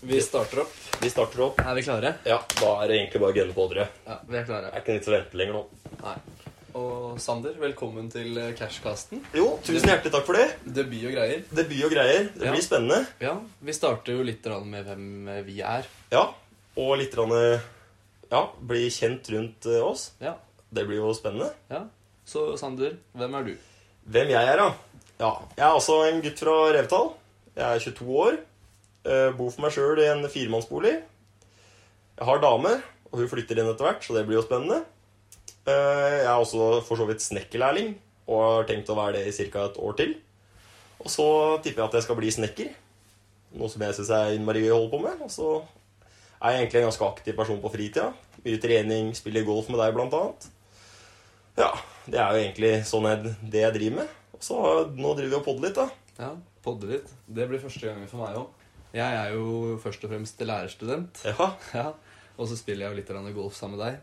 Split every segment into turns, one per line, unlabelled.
Vi starter opp.
Vi starter opp.
Er vi klare?
Ja, da er det egentlig bare å gønne på, dere.
Ja, vi er klare.
Det er ikke nytt å vente lenger nå.
Nei. Og Sander, velkommen til eh, Cashcasten.
Jo, tusen hjertelig takk for det.
Debut og greier.
Det blir jo greier. Det
Ja.
blir spennende.
Ja, vi starter jo litt grann med hvem eh, vi er.
Ja. Og litt grann, eh, ja, bli kjent rundt eh, oss.
Ja,
Det blir jo spennende.
ja. Så Sander, hvem er du?
Hvem jeg er, da? Ja, Jeg er altså en gutt fra Revetal. Jeg er 22 år. Eh, Bor for meg sjøl i en firemannsbolig. Jeg har dame, og hun flytter inn etter hvert, så det blir jo spennende. Eh, Jeg er også for så vidt snekkerlærling, og har tenkt å være det i ca. et år til. Og så tipper jeg at jeg skal bli snekker, noe som jeg syns er innmari gøy å holde på med. Og så er jeg egentlig en ganske aktiv person på fritida. Mye trening, spiller golf med deg, blant annet. Ja, det er jo egentlig sånn jeg, det jeg driver med. Og så har- nå driver vi og podder litt, da.
Ja, podde litt. Det blir første gangen for meg òg. Jeg er jo først og fremst lærerstudent.
Ja,
Ja. Og så spiller jeg jo litt grann golf sammen med deg.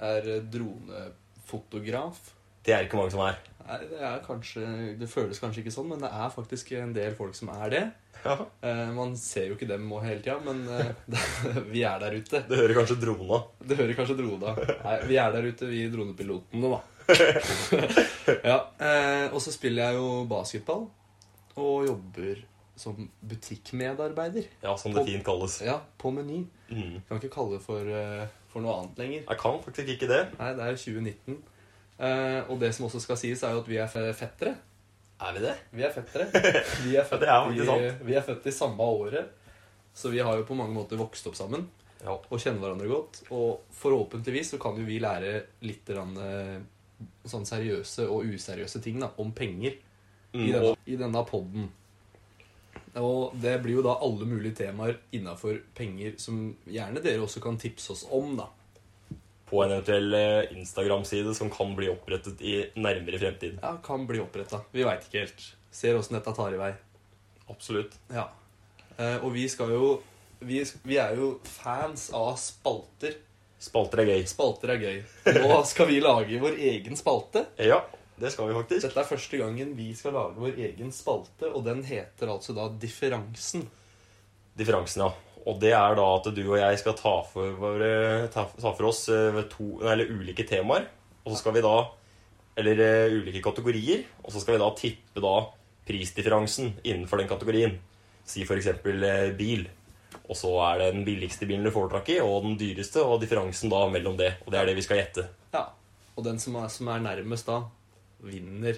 Er eh, dronefotograf.
Det er ikke mange som er.
Nei, det, er kanskje, det føles kanskje ikke sånn, men det er faktisk en del folk som er det.
Ja,
Eh, man ser jo ikke dem òg hele tida, men eh, det- vi er der ute.
Du hører kanskje drona.
Det hører kanskje drona. Nei, vi er der ute, vi dronepilotene, da. ja, eh, og så spiller jeg jo basketball og jobber som butikkmedarbeider.
Ja, som det fint kalles.
Ja, på Meny.
Mm.
Kan ikke kalle det for, eh, for noe annet lenger.
Jeg kan faktisk ikke det.
Nei, det er jo 2019. Eh, og det som også skal sies, er jo at vi er fe- fettere.
Er vi det?
Vi er fettere. Vi er født,
det er faktisk sant.
i, vi er født i samme året, så vi har jo på mange måter vokst opp sammen
Ja.
og kjenner hverandre godt. Og forhåpentligvis så kan jo vi lære litt grann, eh, sånn seriøse og useriøse ting da, om penger i
Mm.
denne,
Og
i denne podden. Og det blir jo da alle mulige temaer innafor penger som gjerne dere også kan tipse oss om, da.
på en eventuell eh, Instagram-side som kan bli opprettet i nærmere fremtid.
Ja, kan bli oppretta. Vi veit ikke helt. Ser åssen dette tar i vei.
Absolutt.
Ja. Eh, og vi skal jo vi, vi er jo fans av spalter.
Spalter er gøy.
Spalter er gøy. Nå skal vi lage vår egen spalte.
Ja, det skal vi faktisk.
Dette er første gangen vi skal lage vår egen spalte, og den heter altså da Differansen.
Differansen, ja. Og det er da at du og jeg skal ta for, våre, ta, ta for oss eh, to, nei, eller ulike temaer. Og så skal vi da Eller eh, ulike kategorier. Og så skal vi da tippe da prisdifferansen innenfor den kategorien. Si for eksempel eh, bil. Og så er det den billigste bilen du får tak i, og den dyreste, og differansen da mellom det. Og det er det vi skal gjette.
Ja. Og den som er, som er nærmest da, vinner.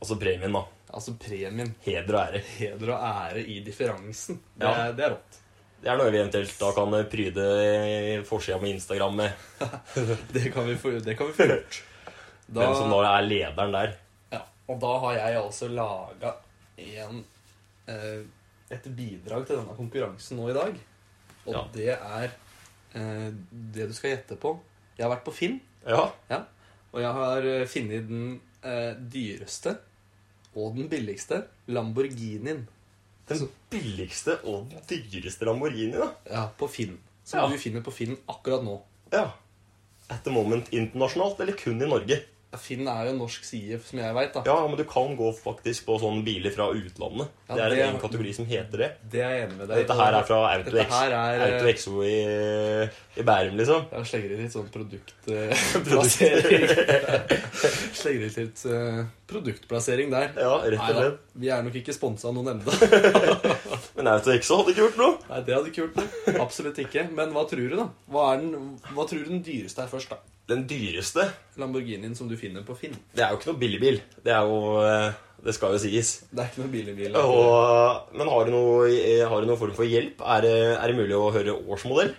Altså premien, da.
Altså premien.
Heder og ære.
Heder og ære i differansen. Det,
Ja.
er, det er rått.
Det er noe vi eventuelt da kan eh, pryde eh, forsida med Instagram med.
Det kan vi få, det kan vi få gjort. Da-
Hvem som da er lederen der.
Ja, og da har jeg altså laga en eh, et bidrag til denne konkurransen nå i dag. Og
Ja.
det er eh, det du skal gjette på. Jeg har vært på Finn,
Ja.
ja, og jeg har eh, funnet den eh, dyreste og den billigste Lamborghinien
Den
Så-
billigste og den dyreste Lamborghini, da.
ja, på Finn. Som
Ja.
du finner på Finn akkurat nå.
Ja. At the moment internasjonalt, eller kun i Norge?
Ja, Finn er jo en norsk side, som jeg veit.
Ja, men du kan gå faktisk på sånne biler fra utlandet.
Ja,
det er
det-
en egen kategori som heter det.
Det er jeg enig med deg i.
Dette her er fra Auto
Dette
Ex-
her er, eh,
Auto Exo i, i Bærum, liksom.
Jeg slenger inn litt sånn produktplassering. slenger inn litt eh, produktplassering der.
Ja, rett og
Neida,
slett.
vi er nok ikke sponsa av noen ennå.
Men Auto Exo hadde ikke gjort noe.
Nei, det hadde ikke gjort det. Absolutt ikke. Men hva tror du, da? Hva, er den, hva tror du den dyreste er først, da?
Den dyreste
Lamborghinien som du finner på Finn.
Det er jo ikke noe billigbil. Det er jo eh, Det skal jo sies.
Det er ikke noe billig bil.
Og, men har du, noe, har du noe form for hjelp? Er det, er det mulig å høre årsmodell?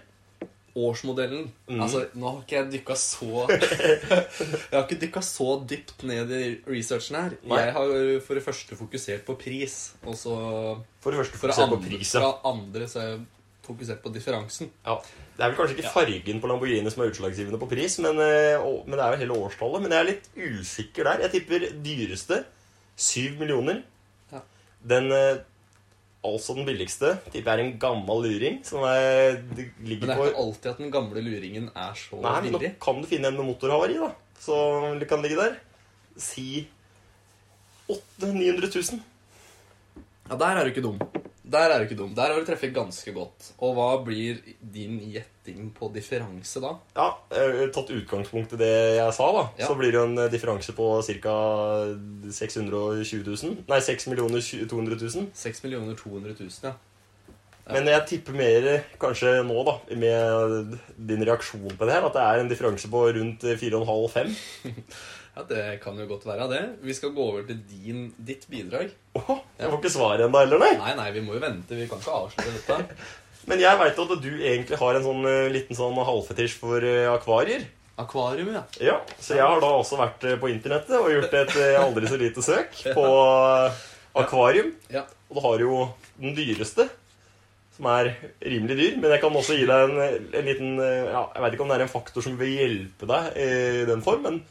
Årsmodellen
Mm.
Altså, nå har ikke jeg dykka så Jeg har ikke dykka så dypt ned i researchen her.
Nei.
Jeg har jo for det første fokusert på pris, og så
For det første,
For det
fokuser
andre,
på pris, ja.
fra andre så er jeg fokusert på differansen.
Ja, Det er vel kanskje ikke
Ja.
fargen på Lamborghini som er utslagsgivende på pris, men, eh, og, men det er jo hele årstallet. Men jeg er litt usikker der. Jeg tipper dyreste 7 millioner.
Ja.
Den eh, altså den billigste tipper jeg er en gammel luring som er, det
Men det
ligger
er ikke
på
alltid at den gamle luringen er så
Nei, men nå
billig.
kan du finne en med motorhavari, da. Så det kan ligge der. Si 800 000-900 000.
Ja, der er du ikke dum. Der er du ikke dum. Der har du treffet ganske godt. Og hva blir din gjetting på differanse da?
Ja, eh, Tatt utgangspunkt i det jeg sa, da,
Ja.
så blir det jo en eh, differanse på ca. 620 000. Nei, 6 millioner 200 000.
6 200 000, ja. Ja.
Men jeg tipper mer eh, kanskje nå, da, med din reaksjon på det her, at det er en differanse på rundt 4,5-5.
Ja, Det kan jo godt være det. Vi skal gå over til din, ditt bidrag.
Åh, jeg får ikke svaret ennå heller, nei.
Nei, nei, vi må jo vente. Vi kan ikke avsløre dette.
Men jeg veit at du egentlig har en sånn eh, liten sånn halvfetisj for eh, akvarier.
Akvarium, ja.
Ja, Så jeg har da også vært eh, på internettet og gjort et eh, aldri så lite søk på eh, akvarium.
ja.
Og du har jo den dyreste, som er rimelig dyr. Men jeg kan også gi deg en, en liten eh, ja, Jeg veit ikke om det er en faktor som vil hjelpe deg eh, i den form, men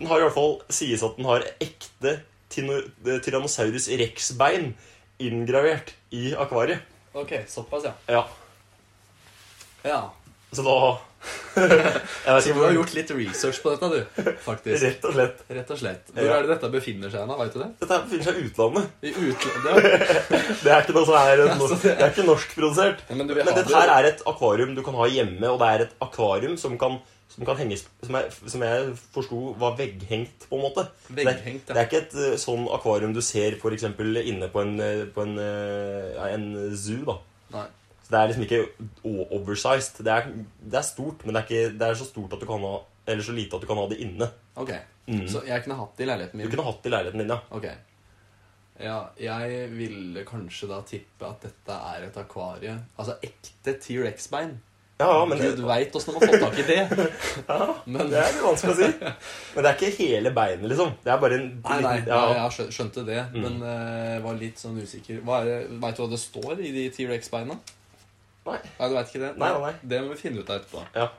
den har i hvert fall sies at den har ekte tino- eh, Tyrannosaurus rex-bein inngravert i akvariet.
Ok, såpass, ja.
Ja,
ja.
Så da Jeg vet
Så
ikke
du har gjort litt research på dette, du. Faktisk.
Rett og slett.
Rett og slett. Hvor er det dette befinner seg hen, da? Veit du det?
Dette her befinner seg i utlandet.
I utlandet?
Det er ikke noe som er,
Ja, så
det
det-
er ikke norskprodusert.
Ja, men du vil
Men
ha
dette
det.
her er et akvarium du kan ha hjemme, og det er et akvarium som kan, som kan henges Som jeg, som jeg forsto var vegghengt, på en måte.
Vegghengt,
det,
ja.
det er ikke et eh, sånn akvarium du ser for eksempel inne på en, eh, på en, eh, ja, en zoo, da.
Nei.
Så det er liksom ikke o- oversized. Det er, det er stort, men det er, ikke, det er så stort at du kan ha Eller så lite at du kan ha det inne.
Ok.
Mm.
Så jeg kunne hatt det i leiligheten
Du
min?
kunne hatt det i leiligheten din, ja.
Ok. Ja, jeg ville kanskje da tippe at dette er et akvarie. Altså ekte T-rex-bein.
Ja, ja, men
Gud veit åssen de har fått tak i det.
Ja,
Men-
det er litt vanskelig å si. Men det er ikke hele beinet, liksom. Det er bare en
Nei, nei,
liten-
ja,
ja. Mm.
jeg skjø- skjønte det, men eh, var litt sånn usikker. Hva er det- Vet du hva det står i de T-rex-beina? Nei,
Nei.
du vet ikke det?
Nei, nei, nei.
Det må vi finne ut av etterpå.
Ja.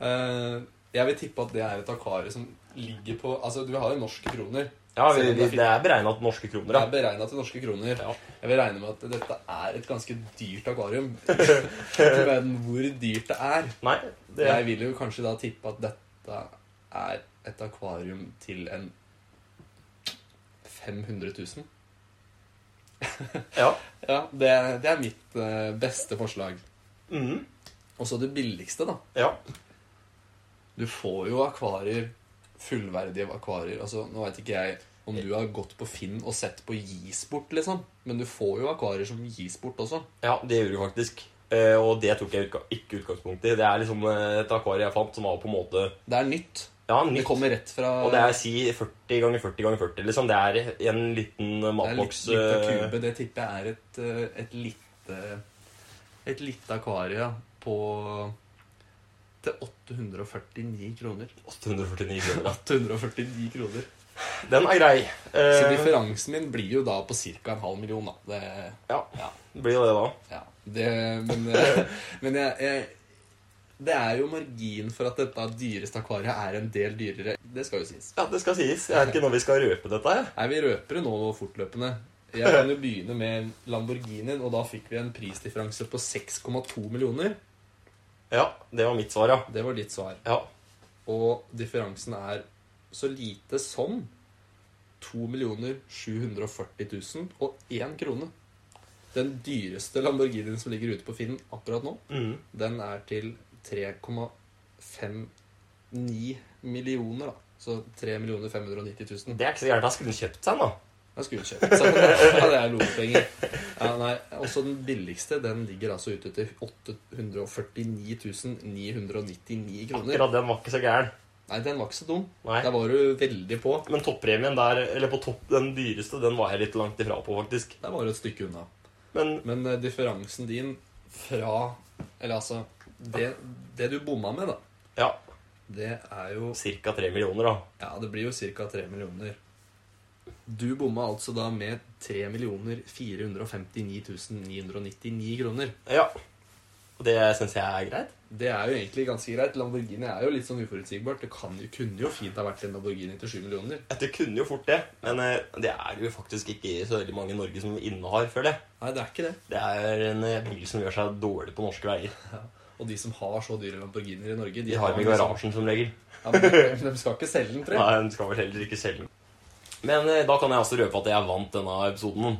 Eh, jeg vil tippe at det er et akvarie som ligger på Altså, du har jo norske kroner.
Ja, vi, vi, det er beregna til norske kroner.
Det er
Ja.
beregna til norske kroner.
Ja.
Jeg vil regne med at dette er et ganske dyrt akvarium. Ikke verden hvor dyrt det er.
Nei, det
Jeg vil jo kanskje da tippe at dette er et akvarium til en 500 000.
Ja.
Ja, det, det er mitt eh, beste forslag.
Mhm.
Og så det billigste, da.
ja.
Du får jo akvarier, fullverdige akvarier. Altså, nå veit ikke jeg om du har gått på Finn og sett på gis bort, liksom. Men du får jo akvarier som gis bort også.
ja, det gjorde du faktisk. Eh, og det tok jeg utga ikke utgangspunkt i. Det er liksom eh, et akvarium jeg fant som var på en måte
Det er nytt.
Ja,
Det
nytt.
kommer rett fra
Og det er si 40 ganger 40 ganger 40. liksom. Det er en liten
Det
eh,
er litt,
matboks.
litt av
eh,
kube. Det tipper jeg er et, eh, et lite Et lite akvarie på til 849 kroner.
849 kroner.
849 kroner.
Den er grei.
Så
Eh,
differansen min blir jo da på ca. en halv million, da. Det,
ja,
ja,
blir jo det, da.
ja. Det, men eh, men jeg, jeg, det er jo margin for at dette dyreste akvariet er en del dyrere. Det skal jo sies.
Ja, det skal sies. Jeg vet ikke når vi skal røpe dette. her.
Nei, vi røper det nå fortløpende. Jeg kan jo begynne med Lamborghinien, og da fikk vi en prisdifferanse på 6,2 millioner.
Ja, det var mitt svar, ja.
Det var ditt svar.
Ja,
Og differansen er så lite som 2 740 000 og 1 krone. Den dyreste Lamborghinien som ligger ute på Finn akkurat nå,
mm.
den er til 3,59 millioner, da. Så 3 590 000.
Det er ikke så gærent. Da skulle den kjøpt seg, den, da.
Jeg skulle kjøpt seg den. Ja, det er lommepenger. Ja, nei, også den billigste den ligger altså ute til 849 999 kroner.
Akkurat den var ikke så gæren.
Nei, den var ikke så dum.
Nei.
Der var du veldig på.
Men toppremien der, eller på topp, den dyreste, den var jeg litt langt ifra på, faktisk.
Der var du et stykke unna.
Men
Men eh, differansen din fra Eller altså Det, det du bomma med, da,
ja,
det er jo
ca. tre millioner, da.
Ja, det blir jo ca. 3 millioner. Du bomma altså da med 3 459 999 kroner.
Ja. Og det syns jeg er greit.
Det er jo egentlig ganske greit. Lamborghini er jo litt sånn uforutsigbart. Det kan jo, kunne jo fint ha vært en Lamborghini til 7 millioner.
Ja, Det kunne jo fort det, men eh, det er jo faktisk ikke så veldig mange i Norge som innehar, føler jeg.
Nei, det er ikke det.
Det er en eh, bil som gjør seg dårlig på norske veier.
Og de som har så dyre Lamborghinier i Norge,
De har dem i
liksom-
garasjen som regel.
Ja, men de, de skal ikke selge den, tror jeg.
Nei, den skal vel heller ikke selge den. Men eh, da kan jeg også røpe at jeg vant denne episoden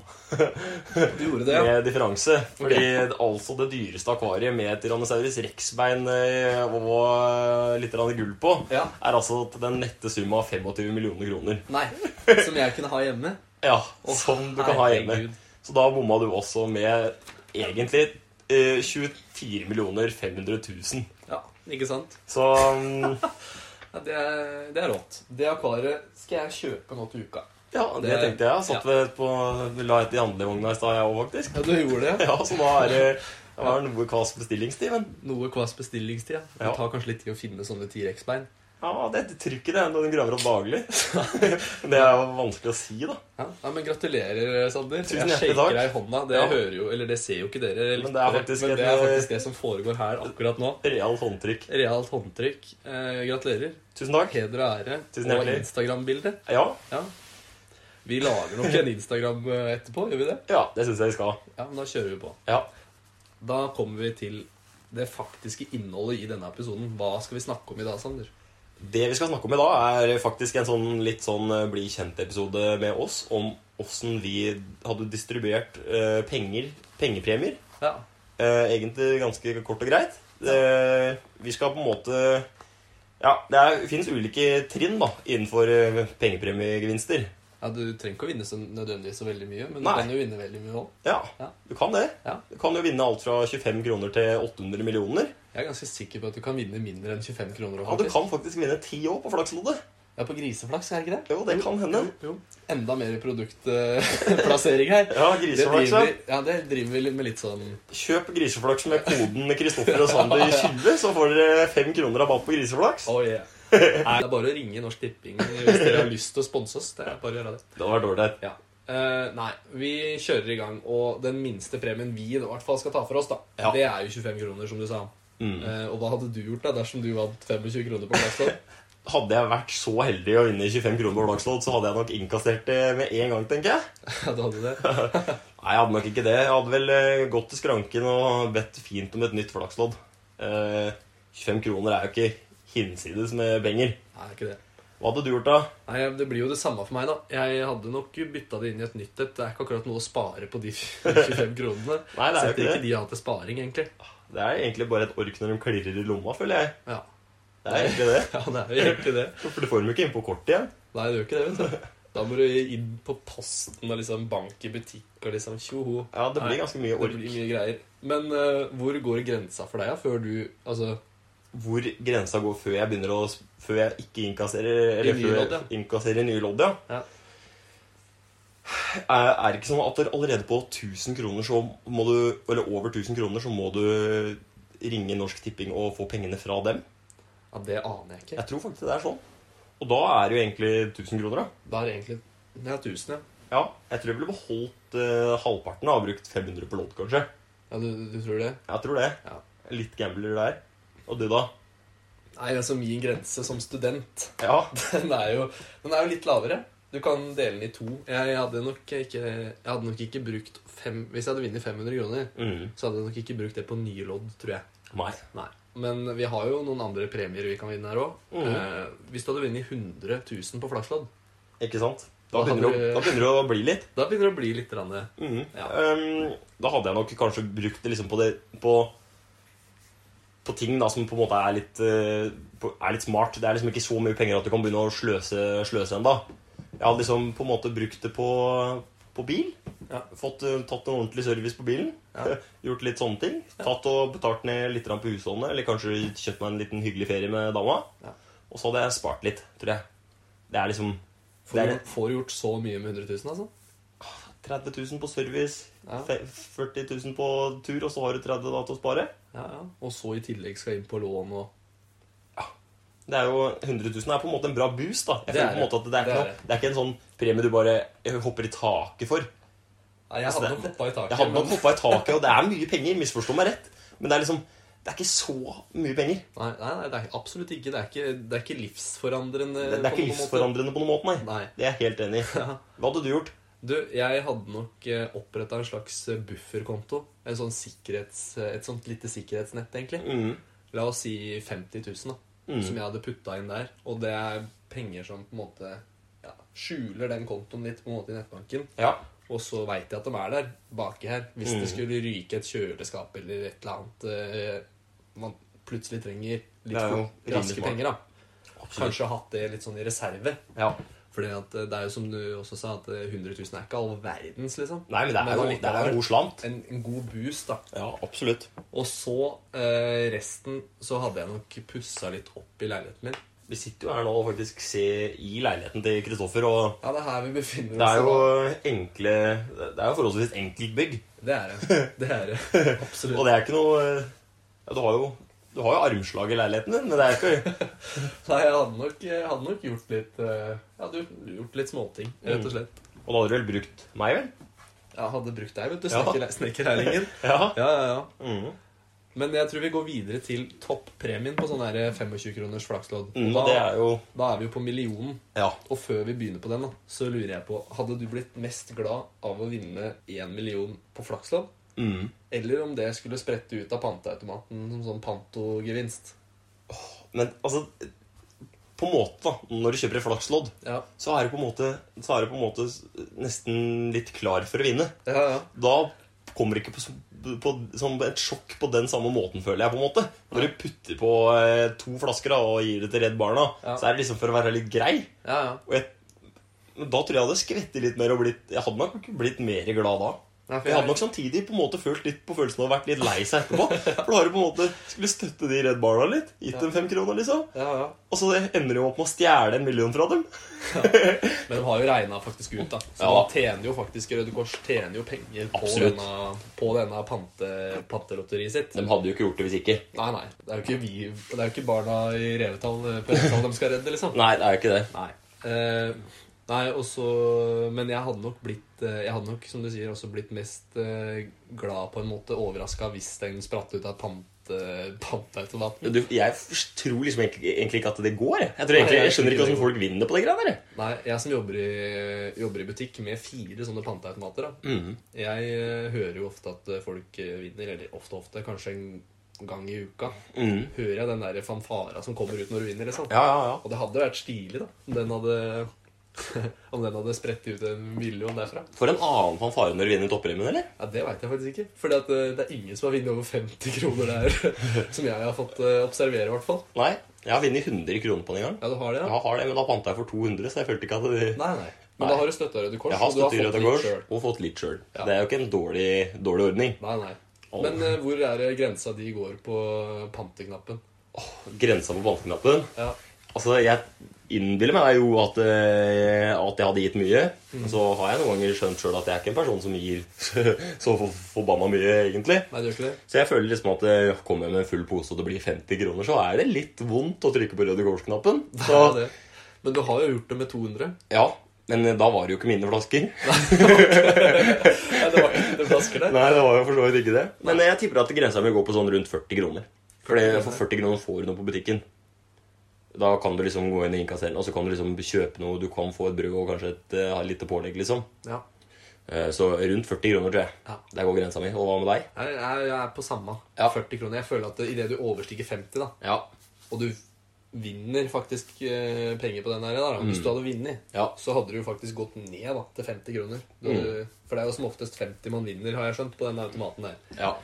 Du gjorde det, ja.
med differanse. Fordi det- altså det dyreste akvariet med Tyrannosaurus rex-bein eh, og litt grann gull på,
ja.
er altså til den nette summa av 25 millioner kroner.
Nei. Som jeg kunne ha hjemme.
Ja,
Å,
Som du kan ha hjemme.
herregud.
Så da bomma du også med egentlig eh, 24 millioner 500 000.
Ja, ikke sant?
Så mm,
Ja, det, er, det er rått. Det akvariet skal jeg kjøpe nå til uka.
ja, det
Det-
tenkte jeg. Jeg Satt ved på, la et i handlevogna i stad, jeg òg, faktisk.
Ja, du gjorde det?
Ja, så da er det da er det noe kvass bestillingstid, men
Noe kvass bestillingstid. ja. Det
Ja.
tar kanskje litt tid å finne sånne T-rex-bein.
ja, det trykket det er når du graver opp daglig. Det er jo vanskelig å si, da.
Ja. ja, men Gratulerer, Sander.
Tusen
jeg
hjertelig
shaker
takk.
deg i hånda. Det
Ja.
hører jo, eller det ser jo ikke dere,
Men det er
lyttere,
faktisk
men det
et,
er
eh,
faktisk det som foregår her akkurat nå.
Realt håndtrykk.
Realt håndtrykk. Eh, gratulerer.
Tusen takk.
Heder og ære.
Tusen
og
hjertelig.
Instagram-bilde.
Ja,
Ja. Vi lager nok en Instagram eh, etterpå, gjør vi det?
ja det syns jeg vi skal.
Ja, men da kjører vi på.
Ja.
Da kommer vi til det faktiske innholdet i denne episoden. Hva skal vi snakke om i dag, Sander?
Det vi skal snakke om i dag, er faktisk en sånn litt sånn eh, bli kjent-episode med oss om åssen vi hadde distribuert eh, penger, pengepremier.
Ja.
Eh, egentlig ganske kort og greit. Eh, vi skal på en måte Ja, det er, finnes ulike trinn da, innenfor eh, pengepremiegevinster.
ja du trenger ikke å vinne så nødvendigvis så veldig mye, men
Nei.
du kan jo vinne veldig mye òg.
Ja,
Ja.
du kan det.
Ja.
Du kan jo vinne alt fra 25 kroner til 800 millioner.
Jeg er ganske sikker på at du kan vinne mindre enn 25 kroner.
Ja, Du
faktisk.
kan faktisk vinne 10 år på flaksloddet.
Ja, på griseflaks, er det ikke det?
Jo, det kan hende.
Jo. Enda mer produktplassering her.
Ja,
Det driver,
griseflaks. ja.
vi- ja, det driver vi litt med litt sånn
Kjøp griseflaks med koden Kristoffer og Sander 20, så får dere 5 kroner rabatt på griseflaks.
Oh yeah. Nei, det er bare å ringe Norsk Tipping hvis dere har lyst til å sponse oss. Det er bare å gjøre det.
Det hadde vært ålreit.
Ja. Eh, nei, vi kjører i gang, og den minste premien vi i hvert fall skal ta for oss, da,
Ja.
det er jo 25 kroner, som du sa.
Mm.
Eh, og hva hadde du gjort da dersom du vant 25 kroner på Blackstone?
Hadde jeg vært så heldig å vinne 25 kroner på flakslodd, så hadde jeg nok innkassert det med en gang, tenker jeg.
ja, du hadde det?
Nei, jeg hadde nok ikke det. Jeg hadde vel eh, gått til skranken og bedt fint om et nytt flakslodd. Eh, 25 kroner er jo ikke hinsides med penger.
Nei, ikke det.
Hva hadde du gjort da?
Nei, Det blir jo det samme for meg, da. Jeg hadde nok bytta det inn i et nytt et. Det er ikke akkurat noe å spare på de 25 kronene.
Nei, det er jo
Setter
ikke
ikke
det.
de av til sparing, egentlig.
Det er egentlig bare et ork når de klirrer i lomma, føler jeg.
Ja,
Det er egentlig det.
ja det er jo egentlig det.
For du får dem jo ikke inn på kortet igjen.
Nei, det gjør ikke det, vet du. Da må du inn på posten og liksom bank i butikk og liksom tjoho.
Ja, det
Nei,
blir ganske mye
Det
ork.
blir mye greier. Men eh, hvor går grensa for deg, da? Før du Altså,
Hvor grensa går før jeg begynner å Før jeg ikke innkasserer
I
Eller
nye
før
lodd, ja.
jeg innkasserer nye lodd, ja.
Ja.
Er, er det ikke sånn at det allerede på 1000 kroner så må du Eller over 1000 kroner så må du ringe Norsk Tipping og få pengene fra dem?
ja, det aner jeg ikke.
Jeg tror faktisk det er sånn. Og da er det jo egentlig 1000 kroner, da.
Da er det egentlig Det er 1000, ja.
Ja, jeg tror jeg ville beholdt eh, halvparten og brukt 500 på lodd, kanskje.
ja du, du tror det?
Jeg tror det.
Ja.
Litt gambler der. Og du, da?
Nei, altså min grense som student,
Ja.
den er jo, den er jo litt lavere. Du kan dele den i to. Jeg hadde nok ikke, jeg hadde nok ikke brukt fem Hvis jeg hadde vunnet 500 kroner,
Mm.
så hadde jeg nok ikke brukt det på nye lodd, tror jeg.
Nei.
Nei. Men vi har jo noen andre premier vi kan vinne her òg.
Mhm.
Eh, hvis du hadde vunnet 100 000 på flakslodd,
Ikke sant?
Da
Da begynner
hadde
det
du-
å- da begynner det å bli litt.
da begynner det å bli litt rande.
Mhm.
Ja.
Ehm, da hadde jeg nok kanskje brukt det liksom på det på, på ting da som på en måte er litt, eh, på- er litt smart. Det er liksom ikke så mye penger at du kan begynne å sløse, sløse ennå. Jeg hadde liksom på en måte brukt det på, på bil.
Ja.
Fått eh, tatt en ordentlig service på bilen.
Ja.
Gjort litt sånne ting. Tatt og betalt ned litt grann på huslånet. Eller kanskje kjøpt meg en liten hyggelig ferie med dama.
Ja.
Og så hadde jeg spart litt, tror jeg. Det er liksom
Får,
Det er-
får gjort så mye med 100 000, altså.
30 000 på service,
Ja.
fe- 40 000 på tur, og så har du 30 da til å spare.
Ja, ja. Og så i tillegg skal inn på lån og
Det er jo, 100 000 er på en måte en bra boost. da. Jeg
Det er
føler på en
det.
måte at det er,
Det
ikke
er
noe, det er ikke en sånn premie du bare eh, hopper i taket for.
Nei, jeg
Altså,
hadde
det-
nok hoppa i taket.
Jeg hadde nok
men-
hoppa i taket, og det er mye penger. Misforstå meg rett. Men det er liksom, det er ikke så mye penger.
Nei, nei, nei, det er absolutt ikke. Det er ikke, det er ikke livsforandrende.
Det, det er
Eh, på
ikke
noen måte.
livsforandrende på noen måte, nei.
Nei.
Det er jeg helt enig i. Hva hadde du gjort?
Du, jeg hadde nok oppretta en slags eh, bufferkonto. En sånn sikkerhets, eh, et sånt lite sikkerhetsnett, egentlig.
Mm.
La oss si 50 000, da.
Mm.
Som jeg hadde putta inn der. Og det er penger som på en måte ja, skjuler den kontoen litt på en måte i nettbanken.
Ja.
Og så veit jeg at de er der, baki her. Hvis
Mm.
det skulle ryke et kjøleskap eller et eller annet eh, man plutselig trenger
Det
litt
er jo
for raske
rimelig smart.
penger, da. Kanskje hatt det litt sånn i reserve.
Ja.
Fordi at eh, det er jo som du også sa, at eh, 100 000 er ikke all verdens, liksom.
Nei, men det er,
Men
jo, det er
allikevel.
en god slant.
En, en god boost, da.
Ja, absolutt.
Og så eh, resten så hadde jeg nok pussa litt opp i leiligheten min.
Vi sitter jo her nå og faktisk ser i leiligheten til Kristoffer, og
Ja, det er her vi befinner oss.
det er jo
da.
enkle Det er jo forholdsvis enkelt bygg.
Det er det. Det er det. Absolutt.
Og det er ikke noe ja, Du har jo, du har jo armslag i leiligheten din, men det er ikke
Nei, jeg hadde nok, jeg hadde nok gjort litt eh, Jeg hadde gjort- gjort litt småting, rett og slett.
Og da hadde du vel brukt meg, vel?
Mm. Jeg hadde brukt deg, vet du.
Ja.
snekker- Snekkerlærlingen.
Ja.
Ja, ja, ja.
Mm.
Men jeg tror vi går videre til toppremien på sånn her 25-kroners flakslodd.
Mm,
Og
og det
da,
er jo
da er vi jo på millionen.
Ja.
Og før vi begynner på den, da, så lurer jeg på Hadde du blitt mest glad av å vinne én million på flakslodd?
Mm.
Eller om det skulle sprette ut av panteautomaten som sånn pantogevinst?
Men altså På en måte, da. Når du kjøper et flakslodd,
Ja,
så er du på en måte, så er du på en måte nesten litt klar for å vinne.
ja, ja.
Da kommer det ikke på, som- på, som et sjokk på den samme måten, føler jeg. på en måte Når du putter på eh, to flasker da, og gir det til Redd Barna,
Ja.
så er det liksom for å være litt grei.
ja, ja.
Og jeg, men da tror jeg jeg hadde skvettet litt mer og blitt Jeg hadde nok blitt mer glad da.
Nei, for
Jeg hadde nok samtidig på en måte følt litt på følelsen av å vært litt lei seg etterpå. For da har du på en måte skulle støtte de Redd Barna litt. Gitt dem fem kroner, liksom.
ja, ja.
Og så ender du opp med å stjele en million fra dem.
Men de har jo regna faktisk ut, da. Så
Ja.
da tjener jo faktisk Røde Kors tjener jo penger på
Absolutt.
denne, på denne pante, pantelotteriet sitt.
De hadde jo ikke gjort det hvis ikke.
Nei, nei. Det er jo ikke, vi, det er jo ikke barna i revetall eh, på revetall de skal redde, liksom.
Nei, det er jo ikke det.
Nei. Eh, nei, og så Men jeg hadde nok blitt eh, Jeg hadde nok, som du sier, også blitt mest eh, glad på en måte overraska hvis den spratt ut av eh, pante, panteautomaten.
Du, jeg tror liksom egentlig, egentlig ikke at det går. Jeg, jeg, tror egentlig, jeg skjønner ikke hvordan folk vinner på de greiene der.
Nei, jeg som jobber i, jobber i butikk med fire sånne panteautomater, da.
Mm.
Jeg eh, hører jo ofte at eh, folk eh, vinner, eller ofte, ofte, kanskje en gang i uka.
Mm.
Hører jeg den der fanfara som kommer ut når du vinner, liksom.
Ja, ja, ja.
Og det hadde vært stilig, da, om den hadde Om den hadde spredt ut en million derfra.
For en annen fanfare når du vinner toppremien, eller?
Ja, Det veit jeg faktisk ikke. For det er ingen som har vunnet over 50 kroner der, som jeg har fått eh, observere, i hvert fall.
Nei. Jeg har vunnet 100 kroner på den en gang.
Ja, du har det, ja?
Jeg har det, men da panta jeg for 200, så jeg følte ikke at det
Nei, nei. Men
Nei.
da har du støtta Røde Kors,
Jeg har
og du har
støttet
fått
Røde
litt
Kors
sjøl.
og fått litt sjøl.
Ja.
Det er jo ikke en dårlig, dårlig ordning.
Nei, nei.
Åh.
Men eh, hvor er det grensa di går på panteknappen?
Grensa på bankknappen
Ja.
Altså, jeg innbiller meg jo at, eh, at jeg hadde gitt mye. Men så har jeg noen ganger skjønt sjøl at jeg er ikke en person som gir så for- forbanna mye, egentlig.
Nei, det gjør ikke det?
Så jeg føler liksom at eh, kommer jeg med en full pose og det blir 50 kroner, så er det litt vondt å trykke på Røde Kors-knappen.
Det
Så
er det. Men du har jo gjort det med 200.
ja, men eh, da var det jo ikke mine flasker.
Nei, det var ikke det flasker der.
Nei, det var jo for så vidt ikke det. Men eh, jeg tipper at grensa mi går på sånn rundt 40 kroner. Fordi for 40 kroner får du noe på butikken. Da kan du liksom gå inn i innkasseren, og så kan du liksom kjøpe noe. Du kan få et brød og kanskje et eh, ha litt pålegg, liksom.
Ja.
Eh, Så rundt 40 kroner, tror jeg.
Ja.
Der går grensa mi. Og hva med deg?
Jeg, jeg, jeg er på samme.
Ja.
40 kroner. Jeg føler at idet du overstiger 50, da,
Ja.
og du vinner faktisk eh, penger på den her, da, hvis du hadde vunnet,
Ja.
så hadde du faktisk gått ned da, til 50 kroner. Du, For det er jo som oftest 50 man vinner, har jeg skjønt, på den automaten der.
ja.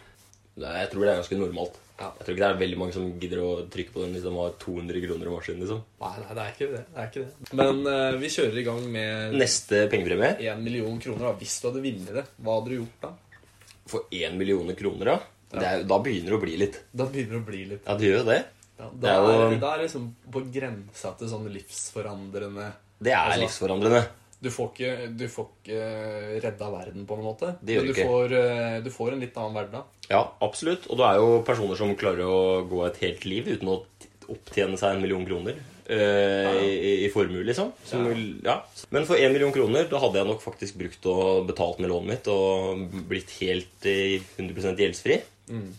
Nei, jeg tror det er ganske normalt.
Ja.
Jeg tror ikke det er veldig mange som gidder å trykke på den hvis de har 200 kroner i maskinen, liksom.
Nei, nei, det er ikke det. det, er ikke det. Men eh, vi kjører i gang med
Neste pengepremie
1 million kroner. da. Hvis du hadde vunnet det, hva hadde du gjort da?
for 1 million kroner, ja. Det er, jo- da begynner det å bli litt.
Da begynner det å bli litt
Ja, det gjør jo det.
Ja,
Det
da,
er jo-
er, da er det liksom på grensa til sånn livsforandrende
Det er
Altså-
livsforandrende.
Du får ikke, du får ikke eh, redda verden på en måte.
Det gjør
men du
du ikke.
Får, eh, du får en litt annen hverdag.
Ja, absolutt. Og det er jo personer som klarer å gå et helt liv uten å t- opptjene seg en million kroner eh, i, i formue, liksom. Som, ja. Men for én million kroner da hadde jeg nok faktisk brukt og betalt med lånet mitt og blitt helt eh, 100 gjeldsfri.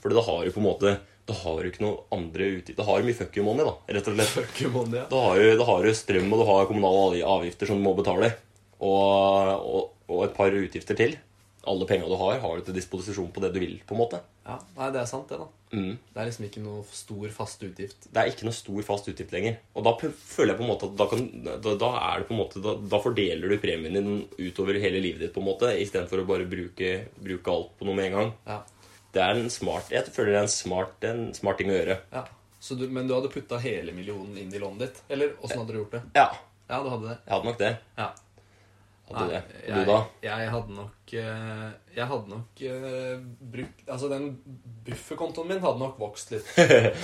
For da har du på en måte Da har du ikke noe andre utgifter. Da har du mye fuck you money, da, rett og slett.
Fuck you, money, ja.
Da har, du, da har du strøm, og du har kommunale avgifter som du må betale. Og, og, og et par utgifter til. alle penga du har, har du til disposisjon på det du vil. på en måte.
Ja, Nei, det er sant, det, da.
Mm.
Det er liksom ikke noe stor, fast utgift.
Det er ikke noe stor fast utgift lenger. Og da p- føler jeg på en måte at da, kan, da, da er det på en måte, da, da fordeler du premien din utover hele livet ditt på en måte, istedenfor å bare bruke, bruke alt på noe med en gang.
Ja,
Det er en smart, Jeg føler det er en smart, en smart ting å gjøre.
ja. Så du, men du hadde putta hele millionen inn i lånet ditt? Eller åssen hadde du gjort det?
Ja,
Ja, du hadde det.
jeg hadde nok det.
Ja.
Hadde
Nei,
det. Og du, da?
Jeg, jeg hadde nok eh, Jeg hadde nok eh, brukt Altså, den bufferkontoen min hadde nok vokst litt.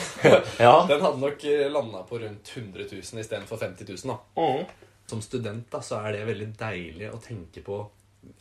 Ja.
Den hadde nok landa på rundt 100 000 istedenfor 50 000, da.
Mm.
Som student da, så er det veldig deilig å tenke på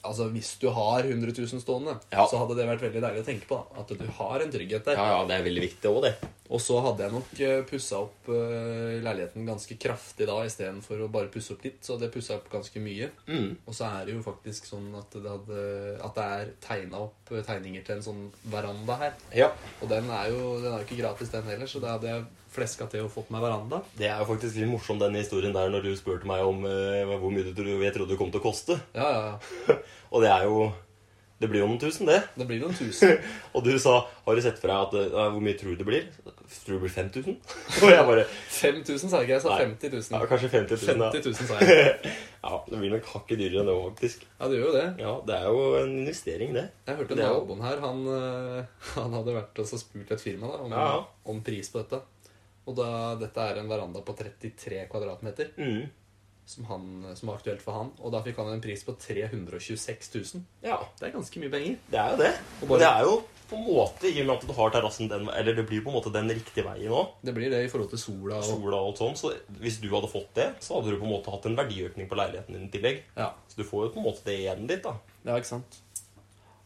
Altså, Hvis du har 100 000 stående,
Ja.
så hadde det vært veldig deilig å tenke på. da, At du har en trygghet der.
ja, ja, det er veldig viktig òg, det.
Og så hadde jeg nok pussa opp eh, leiligheten ganske kraftig da istedenfor å bare pusse opp litt. Så hadde jeg pussa opp ganske mye.
Mm.
Og så er det jo faktisk sånn at det, hadde, at det er tegna opp tegninger til en sånn veranda her.
Ja.
Og den er jo den er jo ikke gratis, den heller, så da hadde jeg fleska til og fått meg veranda.
Det er jo faktisk litt morsom den historien der når du spurte meg om eh, hvor mye du tro- jeg trodde det kom til å koste.
Ja, ja, ja.
Og det er jo Det blir jo noen tusen, det.
Det blir noen tusen.
Og du sa Har du sett for deg at eh, ja, hvor mye tror du det blir? Tror du det blir 5000? Og jeg bare
5000 sa jeg ikke, jeg sa
Nei.
50
Ja,
000.
kanskje 50 000.
50 000
da.
sa jeg.
Ja, det blir nok hakket dyrere enn det faktisk.
Ja, det gjør jo det.
Ja, det er jo en investering, det.
Jeg hørte
Det er jo-
naboen her, han, eh, han hadde vært og så spurt et firma da, om,
Ja.
om pris på dette. Og da, dette er en veranda på 33 kvadratmeter,
Mm.
som, han, som var aktuelt for han. Og da fikk han en pris på 326 000.
Ja,
Det er ganske mye penger.
det er jo det.
Og
Og
bare-
det er jo på en måte, i og med at du har terrassen den Eller det blir på en måte den riktige veien òg.
Det blir det i forhold til sola og
Sola og alt sånn. Så hvis du hadde fått det, så hadde du på en måte hatt en verdiøkning på leiligheten din i tillegg.
Ja,
Så du får jo på en måte det igjen litt, da.
ja ikke sant?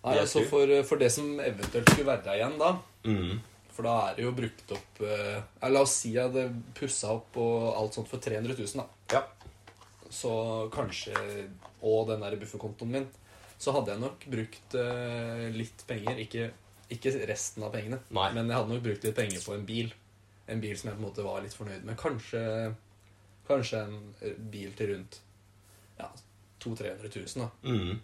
Nei,
Det er
altså
kult.
for, for det som eventuelt skulle være igjen da,
Mm.
for da er det jo brukt opp eh, ja, La oss si jeg hadde pussa opp og alt sånt for 300 000, da.
Ja.
Så kanskje Og den der bufferkontoen min. Så hadde jeg nok brukt eh, litt penger. Ikke, ikke resten av pengene,
Nei.
men jeg hadde nok brukt litt penger på en bil. En bil som jeg på en måte var litt fornøyd med. Kanskje, kanskje en eh, bil til rundt ja, 200 000-300 000. Da.
Mm.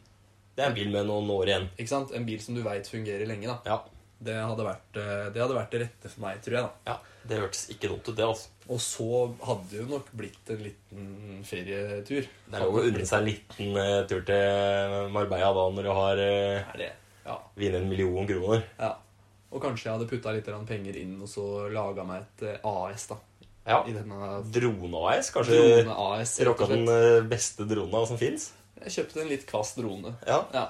Det er en bil med noen år igjen.
Ikke sant? En bil som du veit fungerer lenge. da.
Ja.
Det hadde, vært, eh, det hadde vært det rette for meg, tror jeg. da.
ja. Det hørtes ikke dumt ut, det. altså.
Og så hadde det jo nok blitt en liten ferietur.
Det er lov å unne seg en liten eh, tur til Marbella da når du har uh,
Er det? Ja.
vunnet en million kroner.
Ja. Og kanskje jeg hadde putta litt grann penger inn og så laga meg et eh, AS, da.
Ja.
I denne
Drone-AS, kanskje
drone AS. rett og
rocka den
slett.
eh, beste drona som fins?
Jeg kjøpte en litt kvass drone.
Ja.
Ja.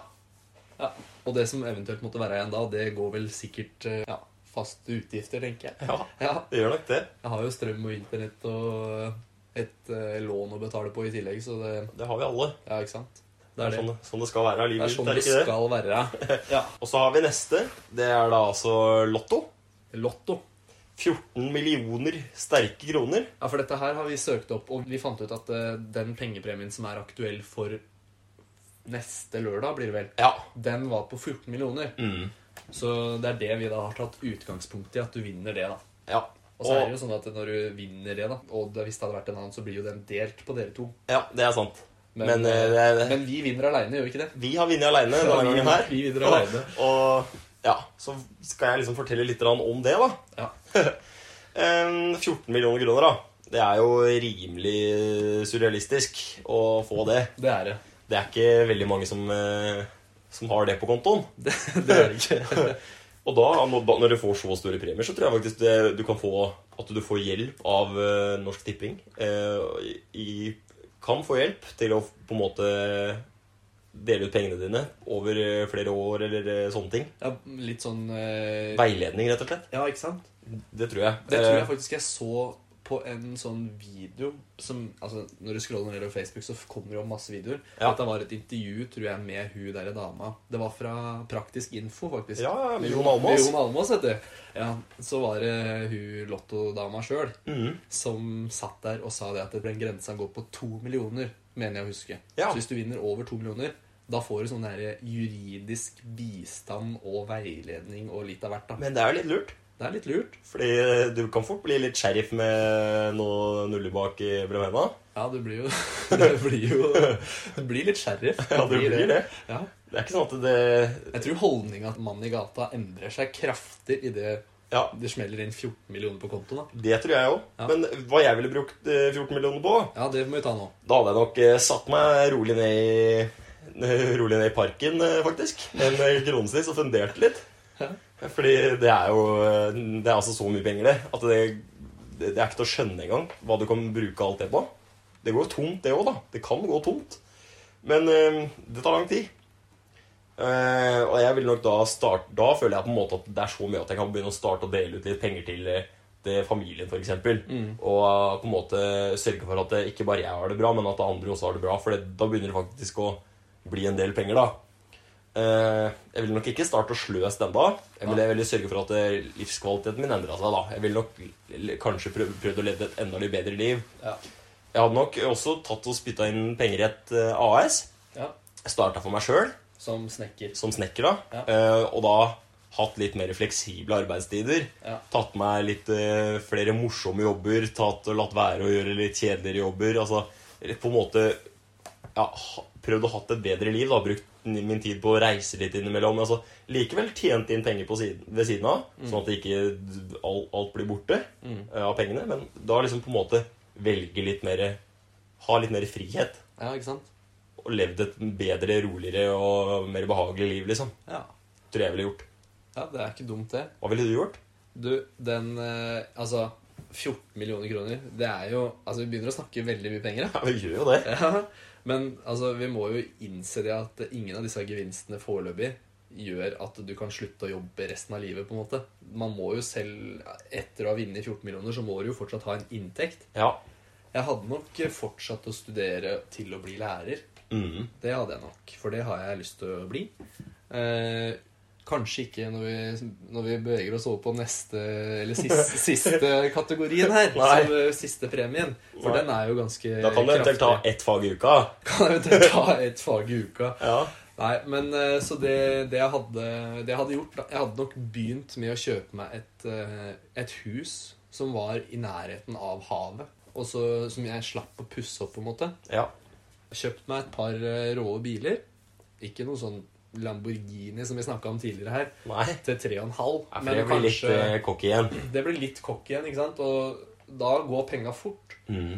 ja. Og det som eventuelt måtte være igjen da, det går vel sikkert eh, ja, faste utgifter, tenker jeg.
ja.
Ja.
Det gjør nok det.
Jeg har jo strøm og internett og eh, et eh, lån å betale på i tillegg, så det
Det har vi alle.
Ja, ikke sant?
Det er sånn, sånn det skal være av
Det er
livet.
sånn
er
det
det ikke det?
skal være. Ja.
Og så har vi neste. Det er da altså Lotto.
Lotto.
14 millioner sterke kroner.
Ja, for dette her har vi søkt opp, og vi fant ut at eh, den pengepremien som er aktuell for neste lørdag, blir det vel,
Ja.
den var på 14 millioner.
Mm.
Så det er det vi da har tatt utgangspunkt i, at du vinner det, da.
Ja.
Og så er det jo sånn at når du vinner det, da, og det, hvis det hadde vært en annen, så blir jo den delt på dere to.
ja, det er sant. Men,
Men,
eh, det er,
Men vi vinner aleine, gjør vi ikke det?
vi har vunnet aleine denne
vi,
gangen her.
vi vinner
Og-
alene.
Og ja, så skal jeg liksom fortelle litt grann om det, da.
Ja.
Em, 14 millioner kroner, da. Det er jo rimelig surrealistisk å få det.
Det er det.
Det er ikke veldig mange som, eh, som har det på kontoen.
Det, det er det ikke.
Og da, når når du får så store premier, så tror jeg faktisk det, du kan få at du får hjelp av eh, Norsk Tipping. Eh, i, kan få hjelp til å på en måte dele ut pengene dine over eh, flere år eller eh, sånne ting.
Ja, litt sånn eh,
Veiledning, rett og slett.
Ja, ikke sant?
Det tror jeg.
Det tror jeg
Eh,
faktisk jeg så på en sånn video som altså, Når du scroller nedover Facebook, så kommer det jo masse videoer.
Ja.
Dette var et intervju tror jeg, med hun derre dama. Det var fra Praktisk Info, faktisk.
Ja, ja, med Jon Almaas.
Jon Almaas, vet du. Ja, så var det hun lottodama sjøl
Mhm.
som satt der og sa det at den grensa går på to millioner, mener jeg å huske.
Ja.
Så hvis du vinner over to millioner, da får du sånn der juridisk bistand og veiledning og litt av hvert. da.
Men det er jo litt lurt.
Det er litt lurt.
Fordi du kan fort bli litt sheriff med noe nuller bak i brevhenna.
Ja, Ja, du blir jo Det blir jo Du blir litt sheriff.
Ja, det blir det.
Ja.
Det er ikke sånn at det
Jeg tror holdninga til mannen i gata endrer seg kraftig idet
Ja,
det smeller inn 14 millioner på kontoen. da.
det tror jeg òg.
Ja.
Men hva jeg ville brukt eh, 14 millioner på,
Ja, det må vi ta nå.
da hadde jeg nok eh, satt meg rolig ned i Rolig ned i parken, eh, faktisk. Med en eh, kronesnitt og fundert litt.
Ja.
Fordi det er jo eh, Det er altså så mye penger, det. At det, det er ikke til å skjønne engang hva du kan bruke alt det på. Det går tomt, det òg, da. Det kan gå tomt. Men eh, det tar lang tid. Eh, og jeg vil nok da starte Da føler jeg på en måte at det er så mye at jeg kan begynne å starte å dele ut litt penger til, eh, til familien, f.eks.
Mm.
Og eh, på en måte sørge for at det, ikke bare jeg har det bra, men at andre også har det bra. For det, da begynner det faktisk å bli en del penger, da. Eh, jeg vil nok ikke starte å sløse ennå. Jeg vil
Nei.
jeg ville sørge for at eh, livskvaliteten min endra seg. da Jeg ville nok l- kanskje prøv, prøvd å leve et enda litt bedre liv.
Ja.
Jeg hadde nok også tatt og spytta inn penger i et eh, AS.
ja.
Starta for meg sjøl
Som snekker.
som snekker, da.
Ja.
Eh, og da hatt litt mer fleksible arbeidstider.
Ja.
Tatt meg litt eh, flere morsomme jobber. Tatt og latt være å gjøre litt kjedeligere jobber. Altså på en måte ja, ha- prøvd å hatt et bedre liv. da Brukt n- min tid på å reise litt innimellom. men Altså, likevel tjent inn penger på siden, ved siden av, sånn at det ikke alt, alt blir borte
Mm.
eh, av pengene. Men da liksom på en måte velge litt mer Ha litt mer frihet.
Ja, ikke sant?
Og levd et bedre, roligere og mer behagelig liv, liksom.
Ja.
Tror jeg ville gjort.
ja, det er ikke dumt, det.
Hva ville du gjort?
Du, den eh, Altså, 14 millioner kroner, det er jo Altså, vi begynner å snakke veldig mye penger, ja.
Ja, vi gjør jo det.
Ja, Men altså, vi må jo innse det at ingen av disse gevinstene foreløpig gjør at du kan slutte å jobbe resten av livet, på en måte. Man må jo selv, etter å ha vunnet 14 millioner, så må du jo fortsatt ha en inntekt.
Ja.
Jeg hadde nok fortsatt å studere til å bli lærer.
Mm.
Det hadde jeg nok, for det har jeg lyst til å bli. Eh, kanskje ikke når vi, når vi beveger oss over på neste eller siste, siste kategorien her.
Nei.
Som eh, siste premien. For
Nei.
den er jo ganske
Da kan du eventuelt ta
kraftig.
ett fag i uka.
Kan eventuelt ta et fag i uka.
Ja.
Nei, men eh, så det, det, jeg hadde, det jeg hadde gjort da, Jeg hadde nok begynt med å kjøpe meg et, eh, et hus som var i nærheten av havet. Og så, som jeg slapp å pusse opp, på en måte.
Ja.
Kjøpt meg et par eh, rå biler. Ikke noe sånn Lamborghini som vi snakka om tidligere her,
Nei.
til 3,5.
Ja, for
Men
jeg blir litt
kanskje
eh, cocky igjen.
Det blir litt cocky igjen, ikke sant? Og da går penga fort.
Mm.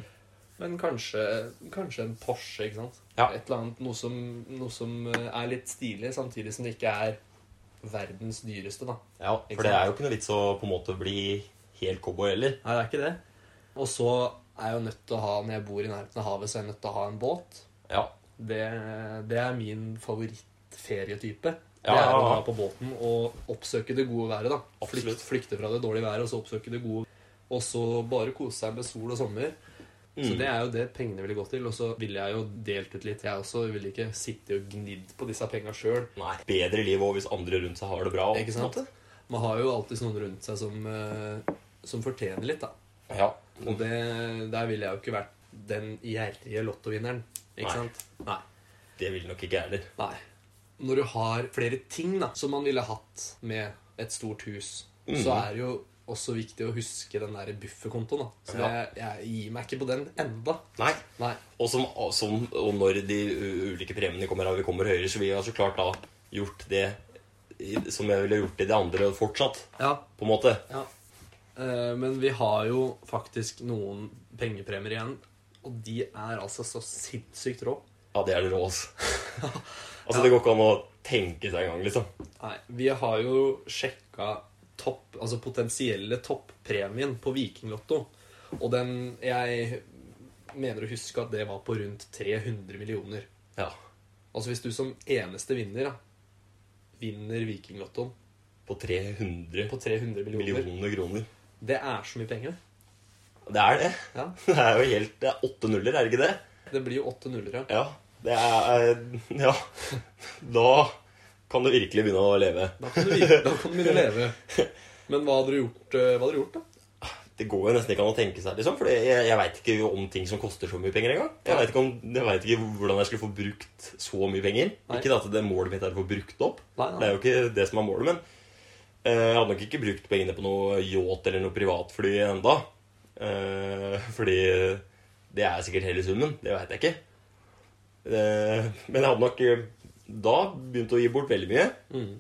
Men kanskje, kanskje en Porsche, ikke sant?
Ja.
Et eller annet, noe som, noe som eh, er litt stilig, samtidig som det ikke er verdens dyreste, da.
Ja, for det er jo ikke noe vits å på en måte bli helt cowboy heller.
Nei, det er ikke det. Og så er jeg jo nødt til å ha, når jeg bor i nærheten av havet, så er jeg nødt til å ha en båt.
Ja.
Det, det er min favorittferietype. Det
Ja,
er
ja,
å
ja.
ha på båten og oppsøke det gode været, da.
Absolutt.
flykte fra det dårlige været, og så oppsøke det gode. Og så bare kose seg med sol og sommer. Så
Mm.
det er jo det pengene ville gått til. Og så ville jeg jo delt ut litt, jeg også. Jeg ville ikke sitte og gnidd på disse penga sjøl.
Nei. Bedre liv òg hvis andre rundt seg har det bra.
Ikke sant? Man har jo alltid noen rundt seg som, eh, som fortjener litt, da.
Ja.
Og det, der ville jeg jo ikke vært den gjerrige lottovinneren. Ikke
Nei.
sant? Nei.
Det vil nok ikke jeg heller.
Nei. Når du har flere ting da, som man ville hatt med et stort hus,
Mhm.
så er det jo også viktig å huske den der bufferkontoen. da. Så
Ja.
jeg, jeg gir meg ikke på den enda.
Nei.
Nei.
Og, som, og, som, og når de u- ulike premiene kommer av vi kommer høyere, så vil jeg så klart da gjort det i- som jeg ville gjort i det andre fortsatt,
Ja,
på en måte.
ja. Eh, Men vi har jo faktisk noen pengepremier igjen, og de er altså så sinnssykt rå.
Ja, det er det rå, altså. altså, det går ikke an å tenke seg engang, liksom.
Nei, vi har jo sjekka topp, altså potensielle toppremien på Vikinglotto. Og den Jeg mener å huske at det var på rundt 300 millioner.
Ja.
Altså hvis du som eneste vinner da, vinner Vikinglottoen
På 300
på 300 millioner,
millioner kroner.
det er så mye penger. det.
Det er det.
Ja.
Det er jo helt Det er åtte nuller, er det ikke det?
Det blir jo åtte nullere.
Ja. Det er eh, Ja. Da kan du virkelig begynne å leve.
Da kan du vir- da kan du begynne å leve. Men hva hadde du gjort, eh, hva hadde du gjort da?
Det går jo nesten ikke an å tenke seg, liksom. For jeg, jeg veit ikke om ting som koster så mye penger engang.
Nei.
Jeg veit ikke, om- jeg vet ikke hvordan jeg skulle få brukt så mye penger.
Nei.
Ikke at det målet mitt er å få brukt opp.
Nei,
Det er jo ikke det som er målet, men eh, jeg hadde nok ikke brukt pengene på noe yacht eller noe privatfly enda. Eh, fordi Det er sikkert hele summen, det veit jeg ikke. Eh, Men jeg hadde nok eh, da begynt å gi bort veldig mye.
Mm.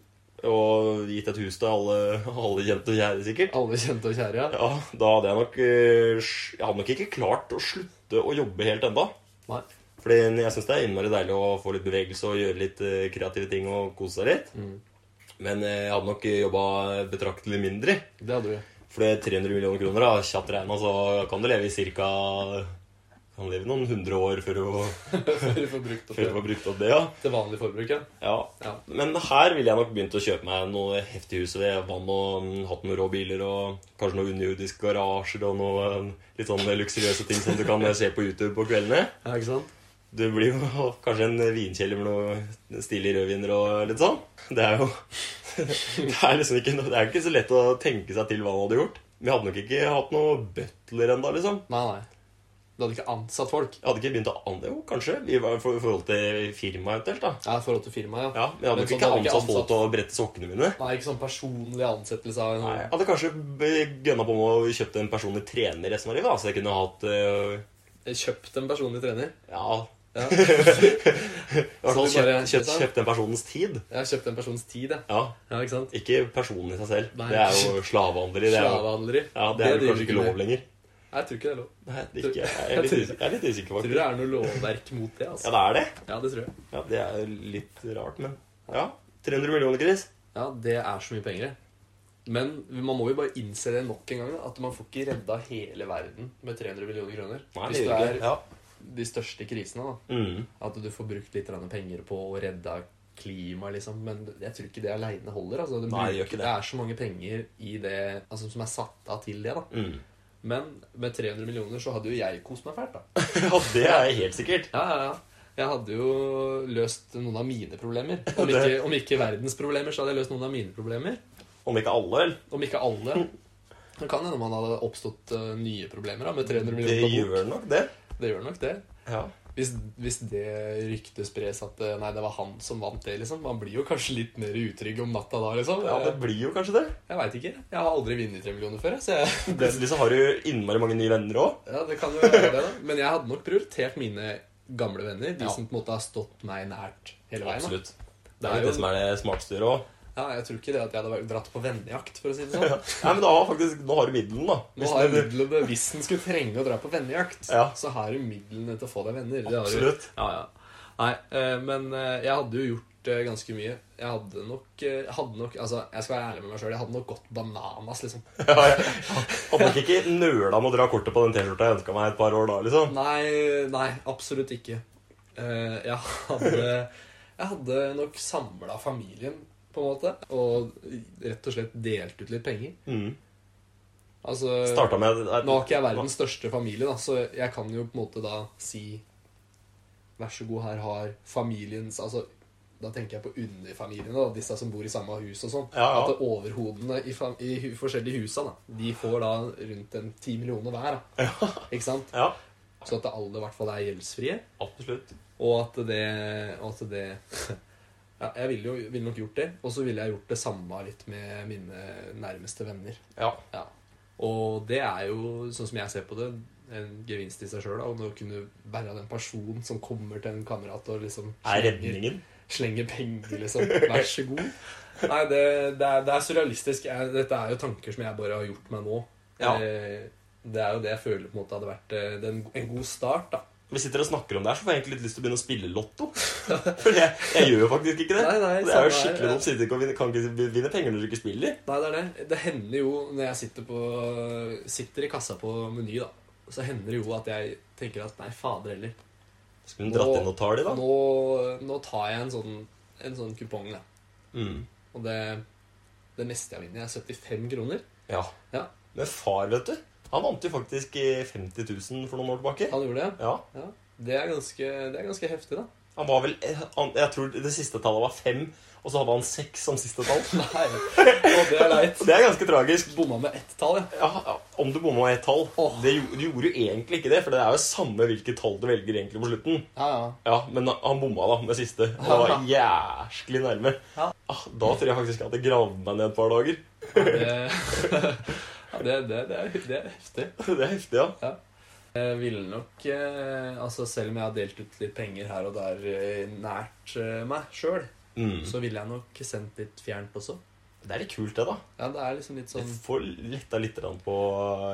Og gitt et hus til alle, alle kjente og kjære, sikkert.
Alle kjente og kjære, ja.
Ja, da hadde jeg nok eh, sj- Jeg hadde nok ikke klart å slutte å jobbe helt enda.
Nei.
Fordi jeg syns det er innmari deilig å få litt bevegelse og gjøre litt eh, kreative ting og kose seg litt.
Mm.
Men eh, jeg hadde nok jobba betraktelig mindre.
Det hadde du.
For det er 300 millioner kroner, da, kjapt regna, så kan du leve i cirka Kan leve noen hundre år før du,
Før du får brukt opp
før du
det.
får brukt opp det, ja.
Til vanlig forbruk, ja.
ja.
Ja.
Men her ville jeg nok begynt å kjøpe meg noe heftig hus ved vann og mm, hatt noen rå biler og kanskje noen underjordiske garasjer og noen litt sånne luksuriøse ting som du kan eh, se på YouTube på kveldene.
ja ikke sant?
Det blir jo kanskje en vinkjeller med noen stilige rødviner og litt sånn. Det er jo Det er liksom ikke, noe- det er ikke så lett å tenke seg til hva man hadde gjort. Vi hadde nok ikke hatt noe butler ennå, liksom.
Nei, nei. Du hadde ikke ansatt folk.
Jeg hadde ikke begynt å an... Jo, kanskje. I hver- for- i forhold til firmaet eventuelt, da.
Ja, I forhold til firmaet, ja.
Ja, men jeg hadde
Men
nok
sånn
ikke
hadde ikke
ansatt
ansatt-
folk til å brette sokkene mine.
Nei, ikke sånn personlig ansettelse av en sånn-
Nei, jeg hadde kanskje b- gønna på med å kjøpt en personlig trener resten av livet, da, så jeg kunne hatt øh,
Kjøpt en personlig trener.
Ja,
Ja.
i hvert fall
Så du bare
kjøpt, kjøpt,
kjøpte den?
kjøpt den personens tid.
Jeg har kjøpt en persons tid, jeg.
Ja,
Ja, ikke sant?
Ikke personen i seg selv.
Nei.
Det er jo slavehandleri. Det er jo
Slavehandleri.
Ja, det er vel
driver
kanskje
vi
ikke lov
med.
lenger.
Nei, Jeg tror ikke det er lov.
Nei, det er ikke, jeg, er litt, usikker- jeg er litt usikker,
Jeg tror
faktisk.
det er noe lovverk mot det.
Ja,
altså.
det er det.
Ja, det tror jeg.
Ja, Det er litt rart, men Ja. 300 millioner, Chris.
Ja, det er så mye penger. det. Men man må jo bare innse det nok en gang, da, at man får ikke redda hele verden med 300 millioner kroner. Hvis det er
Ja.
de største krisene, da.
Mm.
At du får brukt litt grann penger på å redde klima, liksom. Men jeg tror ikke det aleine holder. Altså. Det,
Nei, det gjør
bruker-
ikke det.
det er så mange penger i det altså, som er satt av til det, da.
Mm.
Men med 300 millioner så hadde jo jeg kost meg fælt, da.
ja, det er helt sikkert.
Ja, ja, ja. Jeg hadde jo løst noen av mine problemer. Om ikke, om ikke verdens problemer, så hadde jeg løst noen av mine problemer.
Om ikke alle, vel.
Om ikke alle. Det kan hende man hadde oppstått eh, nye problemer da, med 300
Det
millioner på
gjør nok det.
bok. Det gjør nok det.
Ja.
Hvis, hvis det ryktet spres at eh, nei, det var han som vant det, liksom. Man blir jo kanskje litt mer utrygg om natta da, liksom.
ja, det blir jo kanskje det.
Jeg veit ikke. Jeg har aldri vunnet 3 millioner før, jeg, så jeg
Plutselig så har du innmari mange nye venner òg.
Ja, det kan jo være det, da. Men jeg hadde nok prioritert mine gamle venner. De
Ja.
som på en måte har stått meg nært hele veien. da.
Absolutt.
Det
Det er
er
jo det som
jo,
er det smarteste å gjøre òg.
ja, jeg tror ikke det at jeg hadde vært- dratt på vennejakt, for å si det sånn.
Nei, men da har faktisk, nå har du middelen, da.
Nå har jeg midlene Hvis en skulle trenge å dra på vennejakt,
Ja.
så har du midlene til å få deg venner. Det har du.
Absolutt.
Ja, ja. Nei, eh, men eh, jeg hadde jo gjort eh, ganske mye. Jeg hadde nok, eh, hadde nok altså, Jeg skal være ærlig med meg sjøl. Jeg hadde nok gått bananas, liksom.
Ja, jeg hadde nok ikke nøla med å dra kortet på den T-skjorta jeg ønska meg et par år da, liksom.
Nei, nei, absolutt ikke. Eh, jeg hadde Jeg hadde nok samla familien, på en måte. Og rett og slett delt ut litt penger.
Mm.
Altså
Starta med
Nå har ikke jeg verdens største familie, da, så jeg kan jo på en måte da si Vær så god, her har familiens Altså, da tenker jeg på underfamiliene, da, disse som bor i samme hus og sånn.
Ja, ja.
At overhodene i, fam i hu- forskjellige husa, da, de får da rundt en ti millioner hver. Da. Ikke sant?
Ja,
Så at det alle i hvert fall er gjeldsfrie.
absolutt.
Og at det, og at det ja, Jeg ville jo ville nok gjort det. Og så ville jeg gjort det samme litt med mine nærmeste venner.
Ja.
Ja. Og det er jo, sånn som jeg ser på det, en gevinst i seg sjøl. Å kunne være den personen som kommer til en kamerat og liksom
Er redningen.
slenger penger, liksom. Vær så god. Nei, det, det, er, det er surrealistisk. Jeg, dette er jo tanker som jeg bare har gjort meg nå.
Ja.
Eh, Det er jo det jeg føler på en måte hadde vært eh, den, en god start, da.
Vi sitter og snakker om det her, så får jeg egentlig litt lyst til å begynne å spille lotto. For jeg, jeg gjør jo faktisk ikke det.
Nei, nei,
Og det er
samme
jo
her,
skikkelig
ja.
oppsidig å vinne, kan ikke vinne penger når du ikke spiller.
Nei, det er det. Det hender jo når jeg sitter, på, sitter i kassa på Meny, da, så hender det jo at jeg tenker at nei, fader heller.
Skulle hun dratt
Nå-
inn og tar de, da?
Nå, nå tar jeg en sånn, en sånn kupong, da.
Mm.
Og det, det meste jeg vinner, er 75 kroner.
Ja.
Ja.
Men far, vet du, han vant jo faktisk eh, 50 000 for noen år tilbake.
Han gjorde det.
Ja.
Ja. Det er ganske, det er ganske heftig, da.
Han var vel eh, han, Jeg tror det siste tallet var fem, og så hadde han seks som siste tall.
Nei, og det er leit.
Og det er ganske tragisk.
Bomma med ett tall, ja.
Ja, ja, om du bomma ett tall.
Åh.
Det gjo- du gjorde jo egentlig ikke det, for det er jo samme hvilket tall du velger egentlig på slutten.
Ja, ja.
Ja, men han bomma da med siste. Han var jæsklig nærme.
Ja.
Ah, da tror jeg faktisk jeg hadde gravd meg ned et par dager.
Det, ja, det, det, det, er, det er heftig.
Det er heftig, ja.
Ja. Jeg ville nok eh, Altså, selv om jeg har delt ut litt penger her og der eh, nært eh, meg sjøl,
Mm.
så ville jeg nok sendt litt fjernt også.
Det er litt kult, det, da.
Ja, det er liksom litt
Du
sånn
får letta litt grann på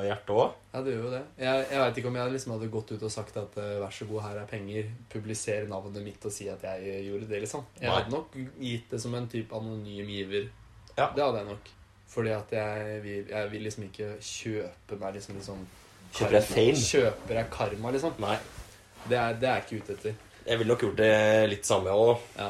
hjertet òg.
Ja, det gjør jo det. Jeg, jeg veit ikke om jeg liksom hadde gått ut og sagt at eh, vær så god, her er penger, publiser navnet mitt og si at jeg eh, gjorde det, liksom. Jeg
Nei.
hadde nok gitt det som en type anonym giver.
Ja.
Det hadde jeg nok. Fordi at jeg vil, jeg vil liksom ikke kjøpe meg liksom liksom
Kjøper jeg
karma.
fame?
Kjøper jeg karma, liksom.
Nei.
Det er, det er jeg ikke ute etter.
Jeg ville nok gjort det litt samme òg, da.
Ja.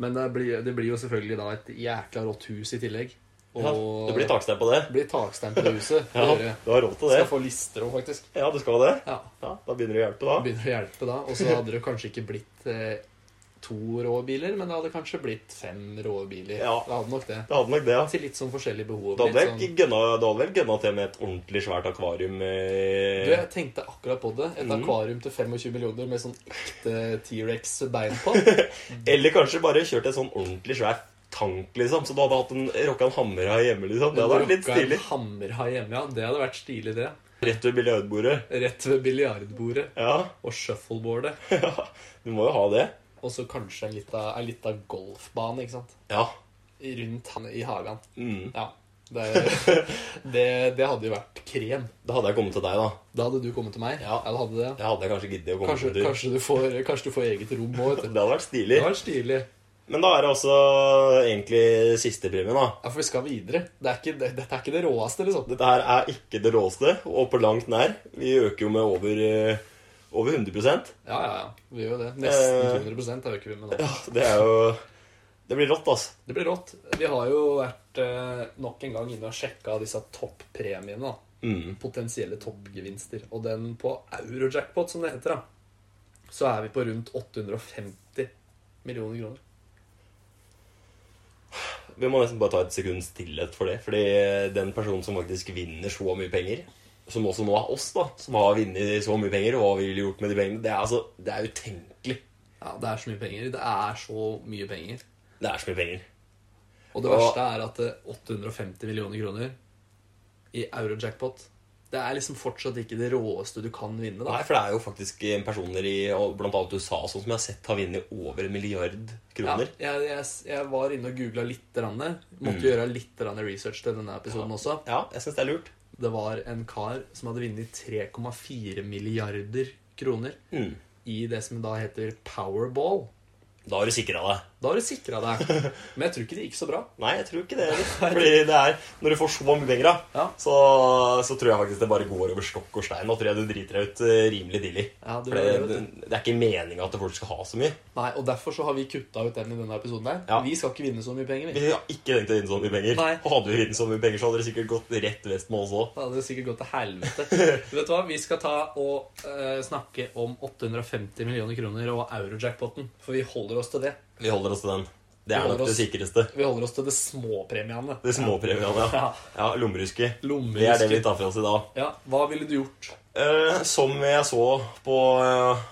Men det blir, det blir jo selvfølgelig da et jækla rått hus i tillegg. Og
Ja, det blir takstein på det.
det blir takstein på det huset.
Ja,
Dere
du har råd til det.
skal få lister òg, faktisk.
Ja, du skal det.
Ja.
Ja, Da begynner det å hjelpe, da.
begynner å hjelpe da. Og så hadde det kanskje ikke blitt eh, to rå biler, men det hadde kanskje blitt fem rå biler.
Ja.
Det hadde nok det.
Det hadde nok det, ja.
Til litt sånn forskjellige behov.
Da hadde
Litt
vel
sånn,
gønna, da hadde vel gønna til med et ordentlig svært akvarium. eh,
du, jeg tenkte akkurat på det. Et
Mm.
akvarium til 25 millioner med sånn ekte T-rex-bein på.
Eller kanskje bare kjørt et sånn ordentlig svært tank, liksom. Så du hadde hatt en rocka en hammer her hjemme, liksom. Det hadde vært litt
Rocka en
stilig.
Hammerhai hjemme, ja. Det hadde vært stilig, det.
Rett ved biljardbordet.
Rett ved biljardbordet
Ja,
og shuffleboardet.
du må jo ha det.
Og så kanskje en lita, en lita golfbane, ikke sant.
Ja.
Rundt han i hagen.
Mm.
Ja. Det, det, det hadde jo vært krem.
Da hadde jeg kommet til deg, da.
Da hadde du kommet til meg?
Ja.
Eller hadde det?
Jeg hadde jeg kanskje giddet å komme
Kanskje,
til deg.
kanskje, du får, kanskje du får eget rom òg, vet du.
Det hadde vært
Det
stilig.
var stilig.
Men da er det også egentlig siste premien, da.
Ja, for vi skal videre. Det er ikke, det, dette er ikke det råeste, liksom.
Dette her er ikke det råeste, og på langt nær. Vi øker jo med over, eh, over 100
Ja, ja, ja. Vi gjør jo det.
Eh.
Nesten 200 øker vi med nå.
Ja, det er jo Det blir rått, altså.
Det blir rått. Vi har jo vært eh, nok en gang inne og sjekka disse toppremiene. da.
Mm.
Potensielle toppgevinster. Og den på eurojackpot, som det heter, da, så er vi på rundt 850 millioner kroner.
Vi må nesten bare ta et sekunds stillhet for det. Fordi den personen som faktisk vinner så mye penger, som også nå er oss, da, som har vunnet så mye penger, og hva vi ville gjort med de pengene, det er altså Det er utenkelig.
Ja, det er så mye penger. Det er så mye penger.
Det er så mye penger.
Og det
Og-
verste er at eh, 850 millioner kroner i euro-jackpot Det er liksom fortsatt ikke det råeste du kan vinne, da.
Nei, for det er jo faktisk personer i og blant annet USA sånn som jeg har sett har vunnet over en milliard
Ja,
kroner.
jeg, jeg, jeg var inne og googla litt. Rann. Måtte gjøre litt rann research til denne episoden også.
Mm. Ja, jeg syns det er lurt.
Det var en kar som hadde vunnet 3,4 milliarder kroner
Mm.
i det som da heter powerball.
Da har du sikra deg.
Da har du sikra deg. Men jeg tror ikke det gikk så bra.
Nei, jeg tror ikke det. heller. Fordi det er, Når du får så mye penger, da,
Ja.
så, så tror jeg faktisk det bare går over stokk og stein. Da tror jeg du driter deg ut eh, rimelig tidlig.
Ja, det
For
gjør
det,
det,
det, er ikke meninga at folk skal ha så mye.
Nei, og Derfor så har vi kutta ut den i denne episoden. her.
Ja.
Vi skal ikke vinne så mye penger. vi.
Vi har ikke tenkt å vinne så mye penger.
Nei.
Og hadde vi vunnet så mye penger, så hadde det sikkert gått rett vest med oss òg.
Da hadde det sikkert gått til helvete. Vet du hva? Vi skal ta og eh, snakke om 850 millioner kroner og euro-jackpotten. For vi holder oss til det.
Vi holder oss til den. Det
Vi
er
holder
nok det
oss-
sikreste.
Vi holder oss til de små premiene.
Det småpremiene. Ja.
Ja.
Ja, lommeruske.
Lommeruske.
Det er det vi tar for oss i dag.
Ja, hva ville du gjort?
Eh, som jeg så på eh,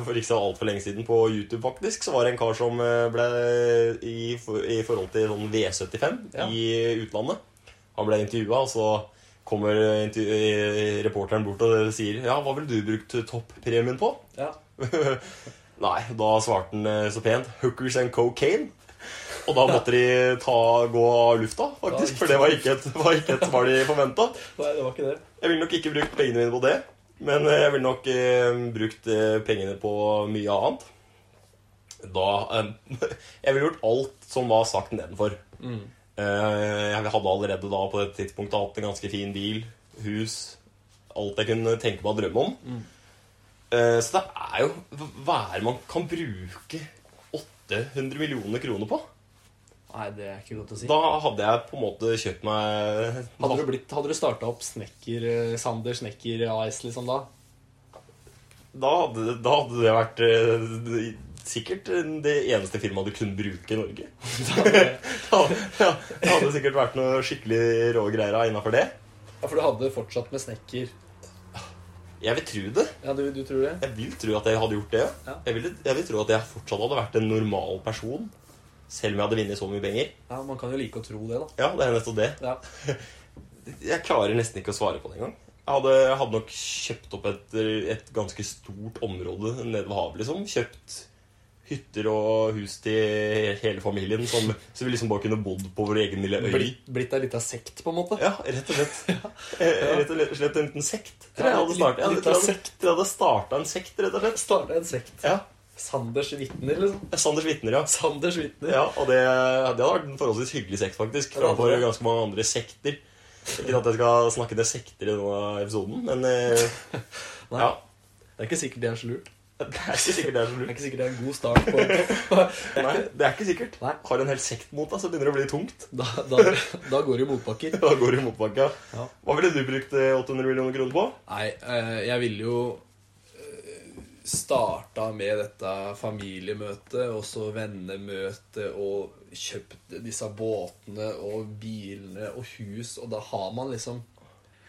for ikke så altfor lenge siden på YouTube, faktisk, så var det en kar som eh, ble i, for- i forhold til sånn V75
Ja.
i utlandet. Han ble intervjua, og så kommer intervju- eh, reporteren bort og sier Ja, hva ville du brukt toppremien på?
Ja.
Nei, da svarte han eh, så pent Hookers and cocaine. Og da måtte de ta, gå av lufta, faktisk, for det var ikke et, var ikke et svar de forventa.
Nei, det var ikke det.
Jeg ville nok ikke brukt pengene mine på det. Men eh, jeg ville nok eh, brukt eh, pengene på mye annet. Da eh, Jeg ville gjort alt som var sagt nedenfor.
Mm.
Eh, jeg hadde allerede da på det tidspunktet hatt en ganske fin bil, hus Alt jeg kunne tenke meg å drømme om.
Mm.
Eh, så det er jo hva- Hva er det man kan bruke 800 millioner kroner på?
Nei, det er ikke godt å si.
Da hadde jeg på en måte kjøpt meg
Hadde du, blitt- hadde du starta opp Snekker, eh, Sander Snekker AS liksom da?
Da hadde, da hadde det vært eh, sikkert det eneste firmaet du kunne bruke i Norge.
Da hadde-
Ja, ja, det hadde sikkert vært noe skikkelig rå greier innafor det.
Ja, for du hadde fortsatt med Snekker.
Jeg vil tro det.
Ja, du, du tror det?
Jeg vil tro at jeg hadde gjort det.
Ja.
Jeg, vil, jeg vil tro at jeg fortsatt hadde vært en normal person. Selv om jeg hadde vunnet så mye penger.
Ja, Man kan jo like å tro det, da.
Ja, det er nettopp det.
Ja.
Jeg klarer nesten ikke å svare på det engang. Jeg hadde, jeg hadde nok kjøpt opp et, et ganske stort område nede ved havet, liksom. Kjøpt hytter og hus til hele familien, som, så vi liksom bare kunne bodd på vår egen lille øy.
Blitt, blitt ei lita sekt, på en måte.
Ja, rett og slett. Eh, Rett og slett en liten sekt. Tror jeg
Ja,
hadde startet. Jeg
litt- litt
tror
av
jeg hadde- tror jeg hadde starta en sekt, rett og slett.
Starta en sekt.
Ja.
Sanders vitner, liksom.
Sanders vitner, ja.
Sanders vitner.
Ja, og det, det hadde vært en forholdsvis hyggelig sekt, faktisk.
Ja, det hadde
Framfor
det.
ganske mange andre sekter. Ikke at jeg skal snakke til sekter i denne episoden, men eh,
Nei.
ja.
Det er ikke sikkert det er så lurt.
Det er ikke sikkert det er så
Det er
lurt.
ikke sikkert det er en god start. på
Nei, det er ikke sikkert.
Nei.
Har en hel sekt mot deg, så begynner det å bli tungt.
Da, da, da går det i motbakker.
Da går du i motbakka.
Ja.
Hva ville du brukt eh, 800 millioner kroner på?
Nei, eh, jeg ville jo eh, starta med dette familiemøtet, og så vennemøtet, og kjøpt disse båtene og bilene og hus, og da har man liksom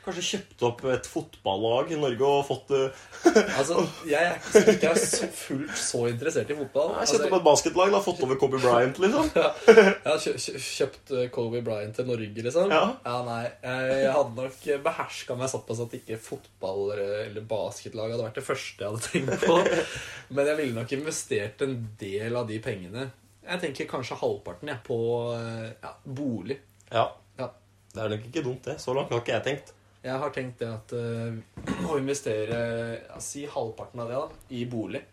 Kanskje kjøpt opp et fotballag i Norge og fått eh,
Altså, jeg er ikke så- ikke er så fullt så interessert i fotball.
Nei,
Altså,
Kjøpt opp et basketlag, da. Fått over Kobe Bryant, liksom.
jeg har kjø- kjø- kjøpt eh, Kobe Bryant til Norge, liksom.
Ja.
nei, eh, Jeg hadde nok beherska meg såpass at ikke fotball- eh, eller basketlag hadde vært det første jeg hadde tenkt på. Men jeg ville nok investert en del av de pengene. Jeg tenker kanskje halvparten jeg, på eh, ja, bolig.
Ja.
Ja.
Det er nok ikke dumt, det. Så langt har ikke jeg tenkt.
Jeg har tenkt det at eh, å investere ja, Si halvparten av det da, i bolig.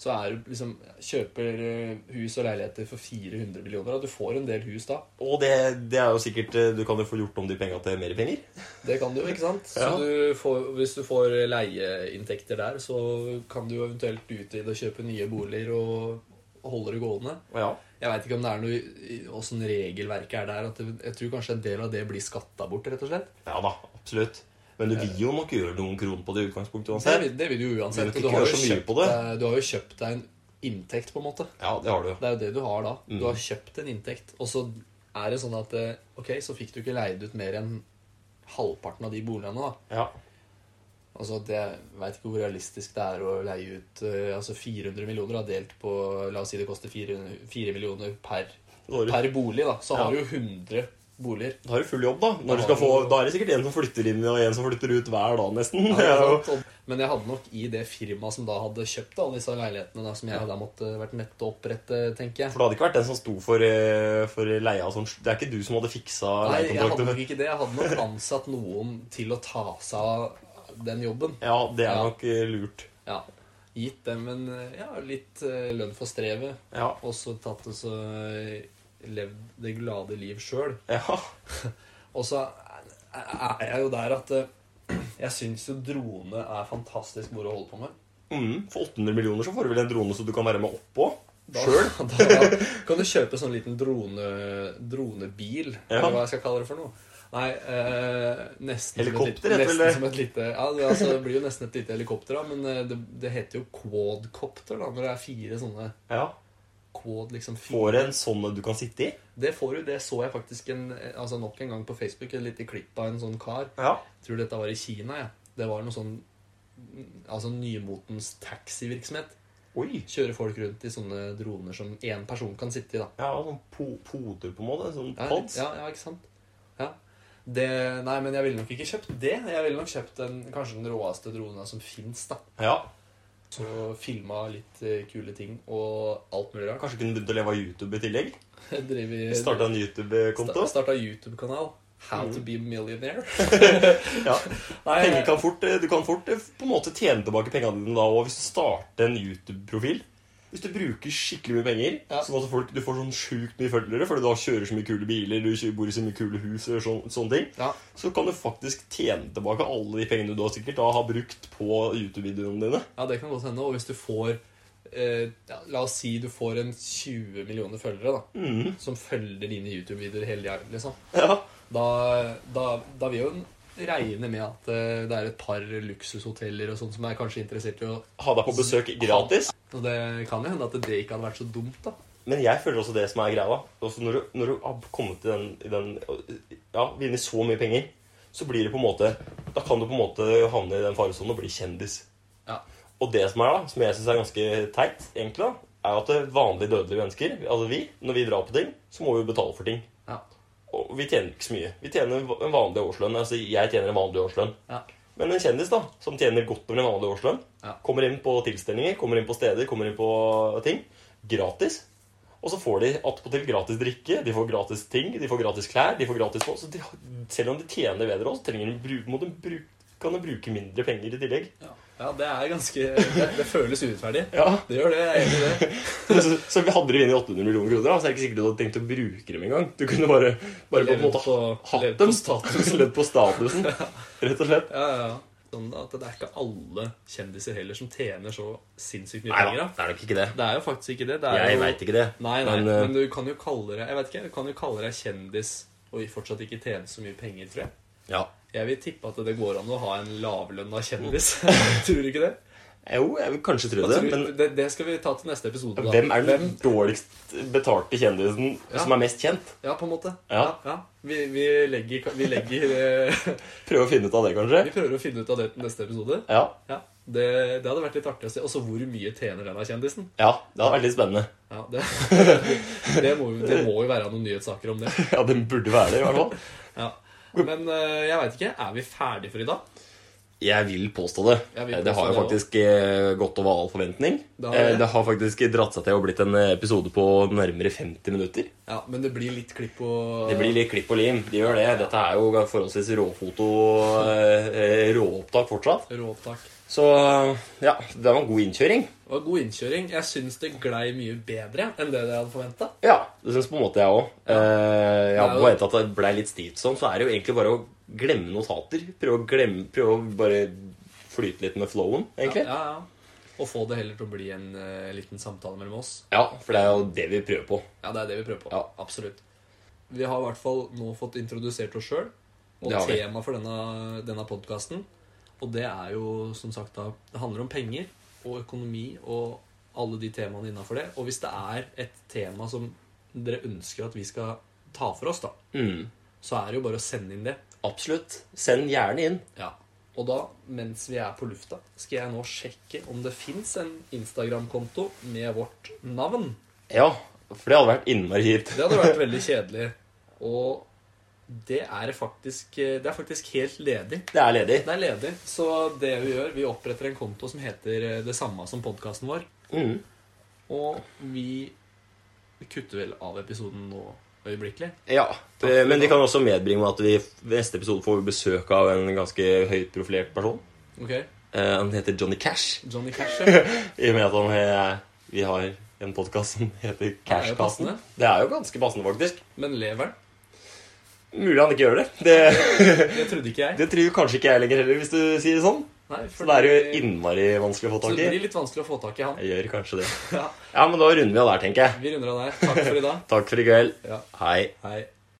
Så er du liksom Kjøper eh, hus og leiligheter for 400 millioner, og du får en del hus da.
Og det, det er jo sikkert eh, Du kan jo få gjort om de penga til mer penger.
Det kan du, ikke sant? Så
Ja.
du får, hvis du får leieinntekter der, så kan du jo eventuelt utvide og kjøpe nye boliger og holde det gående.
Ja.
Jeg veit ikke om det er noe åssen regelverket er der. At det, jeg tror kanskje en del av det blir skatta bort, rett og slett.
ja da, absolutt. Men du vil jo nok gjøre noen kroner på det i utgangspunktet
Det
uansett.
vil, det vil du uansett.
Men du
og Du
gjør
har, jo
så mye
kjøpt,
på det.
deg- du har jo kjøpt deg en inntekt, på en måte.
Ja, det har du.
Det er jo det du har da.
Mm.
Du har kjøpt en inntekt, og så er det sånn at eh, Ok, så fikk du ikke leid ut mer enn halvparten av de boligene, da.
Ja.
Altså, det, Jeg veit ikke hvor realistisk det er å leie ut eh, altså 400 millioner da, delt på La oss si det koster 400, 4 millioner per,
Da har du
per bolig. da, Så
Ja.
har du jo 100 boliger.
Da har du full jobb, da.
Da
Når du skal
har
få,
du-
da er det sikkert en som flytter inn og en som flytter ut hver dag, nesten.
Ja,
Det er jo-
ikke sant? Og- Men jeg hadde nok i det firmaet som da hadde kjøpt alle disse leilighetene, da, som jeg hadde måttet vært nødt til å opprette, tenker
For
jeg.
det hadde ikke vært den som sto for, eh, for leia og sånn. Det er ikke du som hadde fiksa
Nei, jeg hadde
leiekontrakten.
nok ikke det. Jeg hadde nok ansatt noen til å ta seg av den jobben.
Ja, det er
Ja.
nok eh, lurt.
Ja. Gitt dem en eh, ja, litt eh, lønn for strevet,
Ja.
og så tatt og så eh, levd det glade liv sjøl.
ja.
Og så er jeg jo der at eh, jeg syns jo drone er fantastisk moro å holde på med.
Mm, for 800 millioner så får du vel en drone så du kan være med oppå
Da,
sjøl.
da kan du kjøpe sånn liten drone, dronebil,
Ja.
eller hva jeg skal kalle det for noe. Nei, eh, nesten
Helikopter
som et,
heter
lite-
vel det?
nesten som et lite Ja, det, altså, det blir jo nesten et lite helikopter, da, men eh, det, det heter jo quadcopter da, når det er fire sånne
Ja.
quad, liksom fire.
Får en sånn du kan sitte i.
Det får du, det så jeg faktisk en, altså nok en gang på Facebook, et lite klipp av en sånn kar.
Ja.
Jeg tror dette var i Kina, jeg. Det var noe sånn altså nymotens taxivirksomhet.
Oi.
Kjører folk rundt i sånne droner som én person kan sitte i, da.
Ja, sånn po poder på en måte. Sånn
Ja,
pods.
ja, ja ikke sant? Ja. Det, nei, men jeg ville nok ikke kjøpt det. Jeg ville nok kjøpt den, kanskje den råeste drona som fins, da.
Ja.
Så filma litt eh, kule ting og alt mulig rart.
Kanskje kunne begynt å leve av YouTube i tillegg.
Driver
Starta en YouTube-konto.
Starta YouTube-kanal. How
Mm.
to be millionaire.
Ja.
Nei,
Penger kan fort, eh, du kan fort eh, på en måte tjene tilbake pengene dine da og hvis du starter en YouTube-profil. Hvis du bruker skikkelig mye penger,
Ja.
sånn at folk, du får sånn sjukt mye følgere fordi du da kjører så mye kule biler, du kjører- bor i så mye kule hus, og sånn, sånne ting,
Ja.
så kan du faktisk tjene tilbake alle de pengene du da sikkert da har brukt på YouTube-videoene dine.
Ja, det kan godt hende. Og hvis du får eh, ja, La oss si du får en 20 millioner følgere da,
Mhm.
som følger dine YouTube-videoer hele tida, liksom.
Ja.
da, da, da vil jo en regne med at eh, det er et par luksushoteller og sånt som er kanskje interessert i å
Ha deg på besøk gratis.
Og det kan jo hende at det ikke hadde vært så dumt, da.
Men jeg føler også det som er greia. da. Også når, du, når du har kommet til den, i den Ja, vinner så mye penger, så blir det på en måte Da kan du på en måte havne i den faresonen og bli kjendis.
Ja.
Og det som er da, som jeg syns er ganske teit, egentlig, da, er at vanlige dødelige mennesker, altså vi, når vi drar på ting, så må vi jo betale for ting.
Ja.
Og vi tjener ikke så mye. Vi tjener en vanlig årslønn. Altså jeg tjener en vanlig årslønn.
ja.
Men en kjendis da, som tjener godt over en vanlig årslønn,
Ja.
kommer inn på tilstelninger, kommer inn på steder, kommer inn på ting, gratis. Og så får de attpåtil gratis drikke, de får gratis ting, de får gratis klær, de får gratis Så de, selv om de tjener bedre også, trenger de, bru- må de bruke, kan de bruke mindre penger i tillegg.
Ja, ja det er ganske Det, det føles urettferdig.
Ja,
Det gjør det. Jeg er enig i det.
så, så vi hadde de vunnet 800 millioner kroner, da, så er det ikke sikkert du hadde tenkt å bruke dem engang. Du kunne bare, bare på en
Levd
måte
på-
hatt
levd på
dem.
status.
Levd på statusen, rett og slett.
Ja, ja, ja. Sånn at det er ikke alle kjendiser heller som tjener så sinnssykt mye
Nei
penger.
da,
da.
det er nok ikke det.
Det er jo faktisk ikke det. det er
Jeg
jo...
veit ikke det.
Nei, nei,
Men,
men,
eh,
du kan jo kalle deg Jeg vet ikke, du kan jo kalle deg kjendis og fortsatt ikke tjene så mye penger, tror jeg.
ja.
Jeg vil tippe at det går an å ha en lavlønna kjendis. tror du ikke det?
Jo, jeg vil kanskje tro
Hva
det,
tror du-
men
det? Det skal vi ta til neste episode. da.
hvem er den dårligst betalte kjendisen
Ja.
som er mest kjent?
Ja, på en måte.
Ja.
Vi, vi legger, vi, legger eh,
Prøve å finne ut av det, kanskje?
vi prøver å finne ut av det til neste episode.
Ja.
Ja, det, det hadde vært litt artig å se. Og så hvor mye tjener denne kjendisen?
ja, Det hadde vært litt spennende.
Ja, det, det, må, jo- det må jo være noen nyhetssaker om det.
Ja, Den burde være det, i hvert fall.
Ja. Men eh, jeg veit ikke. Er vi ferdige for i dag?
Jeg vil påstå det.
Jeg vil
det
påstå
har jo
det
faktisk eh, gått over all forventning.
Det
Det
har
har,
det.
det har faktisk dratt seg til og blitt en eh, episode på nærmere 50 minutter.
Ja, Men det blir litt klipp og
Det blir litt klipp og lim. De gjør det. Dette er jo forholdsvis råfoto eh, eh, råopptak fortsatt.
råopptak.
Så eh, ja, det var en god innkjøring.
Det var god innkjøring. Jeg syns det glei mye bedre enn det jeg hadde forventa.
Ja, det syns på en måte jeg òg. Eh, jeg
Det er
hadde
jo-
forventet at det blei litt stivt sånn, så er det jo egentlig bare å glemme notater. Prøve å glemme Prøve å bare flyte litt med flowen, egentlig. Ja,
Ja, ja, ja. Og få det heller til å bli en eh, liten samtale mellom oss.
for det er jo det vi prøver på.
Ja, det er det vi prøver på.
Ja.
Absolutt. Vi har i hvert fall nå fått introdusert oss sjøl og
Det har vi.
temaet for denne, denne podkasten. Og det er jo som sagt da Det handler om penger og økonomi og alle de temaene innafor det. Og hvis det er et tema som dere ønsker at vi skal ta for oss, da,
Mm,
så er det jo bare å sende inn det.
absolutt. Send gjerne inn.
Ja. Og da, mens vi er på lufta, skal jeg nå sjekke om det fins en Instagram-konto med vårt navn.
Ja, for det hadde vært innmari kjipt.
Det hadde vært veldig kjedelig. Og det er faktisk, eh, det er faktisk helt ledig.
Det er ledig.
Det er ledig, så det vi gjør, vi oppretter en konto som heter eh, det samme som podkasten vår.
Mm.
Og vi kutter vel av episoden nå øyeblikkelig.
Ja, eh, men vi kan også medbringe med at vi i neste episode får besøk av en ganske høyt profilert person.
Ok,
Eh, han heter Johnny Cash.
Johnny Cash, ja.
I og med at han, eh, vi har en podkast som heter
jo
Cashkassen.
passende.
Det er jo ganske passende, faktisk.
Men lever han?
Mulig han ikke gjør det. Det,
Det trodde ikke jeg.
det tror kanskje ikke jeg lenger heller, hvis du sier det sånn.
Nei,
Så det er jo innmari vanskelig å få
så
tak
det
i.
blir litt vanskelig å få tak i han.
Jeg gjør kanskje det.
Ja,
Ja, men da runder vi av der, tenker jeg.
vi runder av der. Takk for i dag.
Takk for i kveld.
Ja,
Hei.
hei.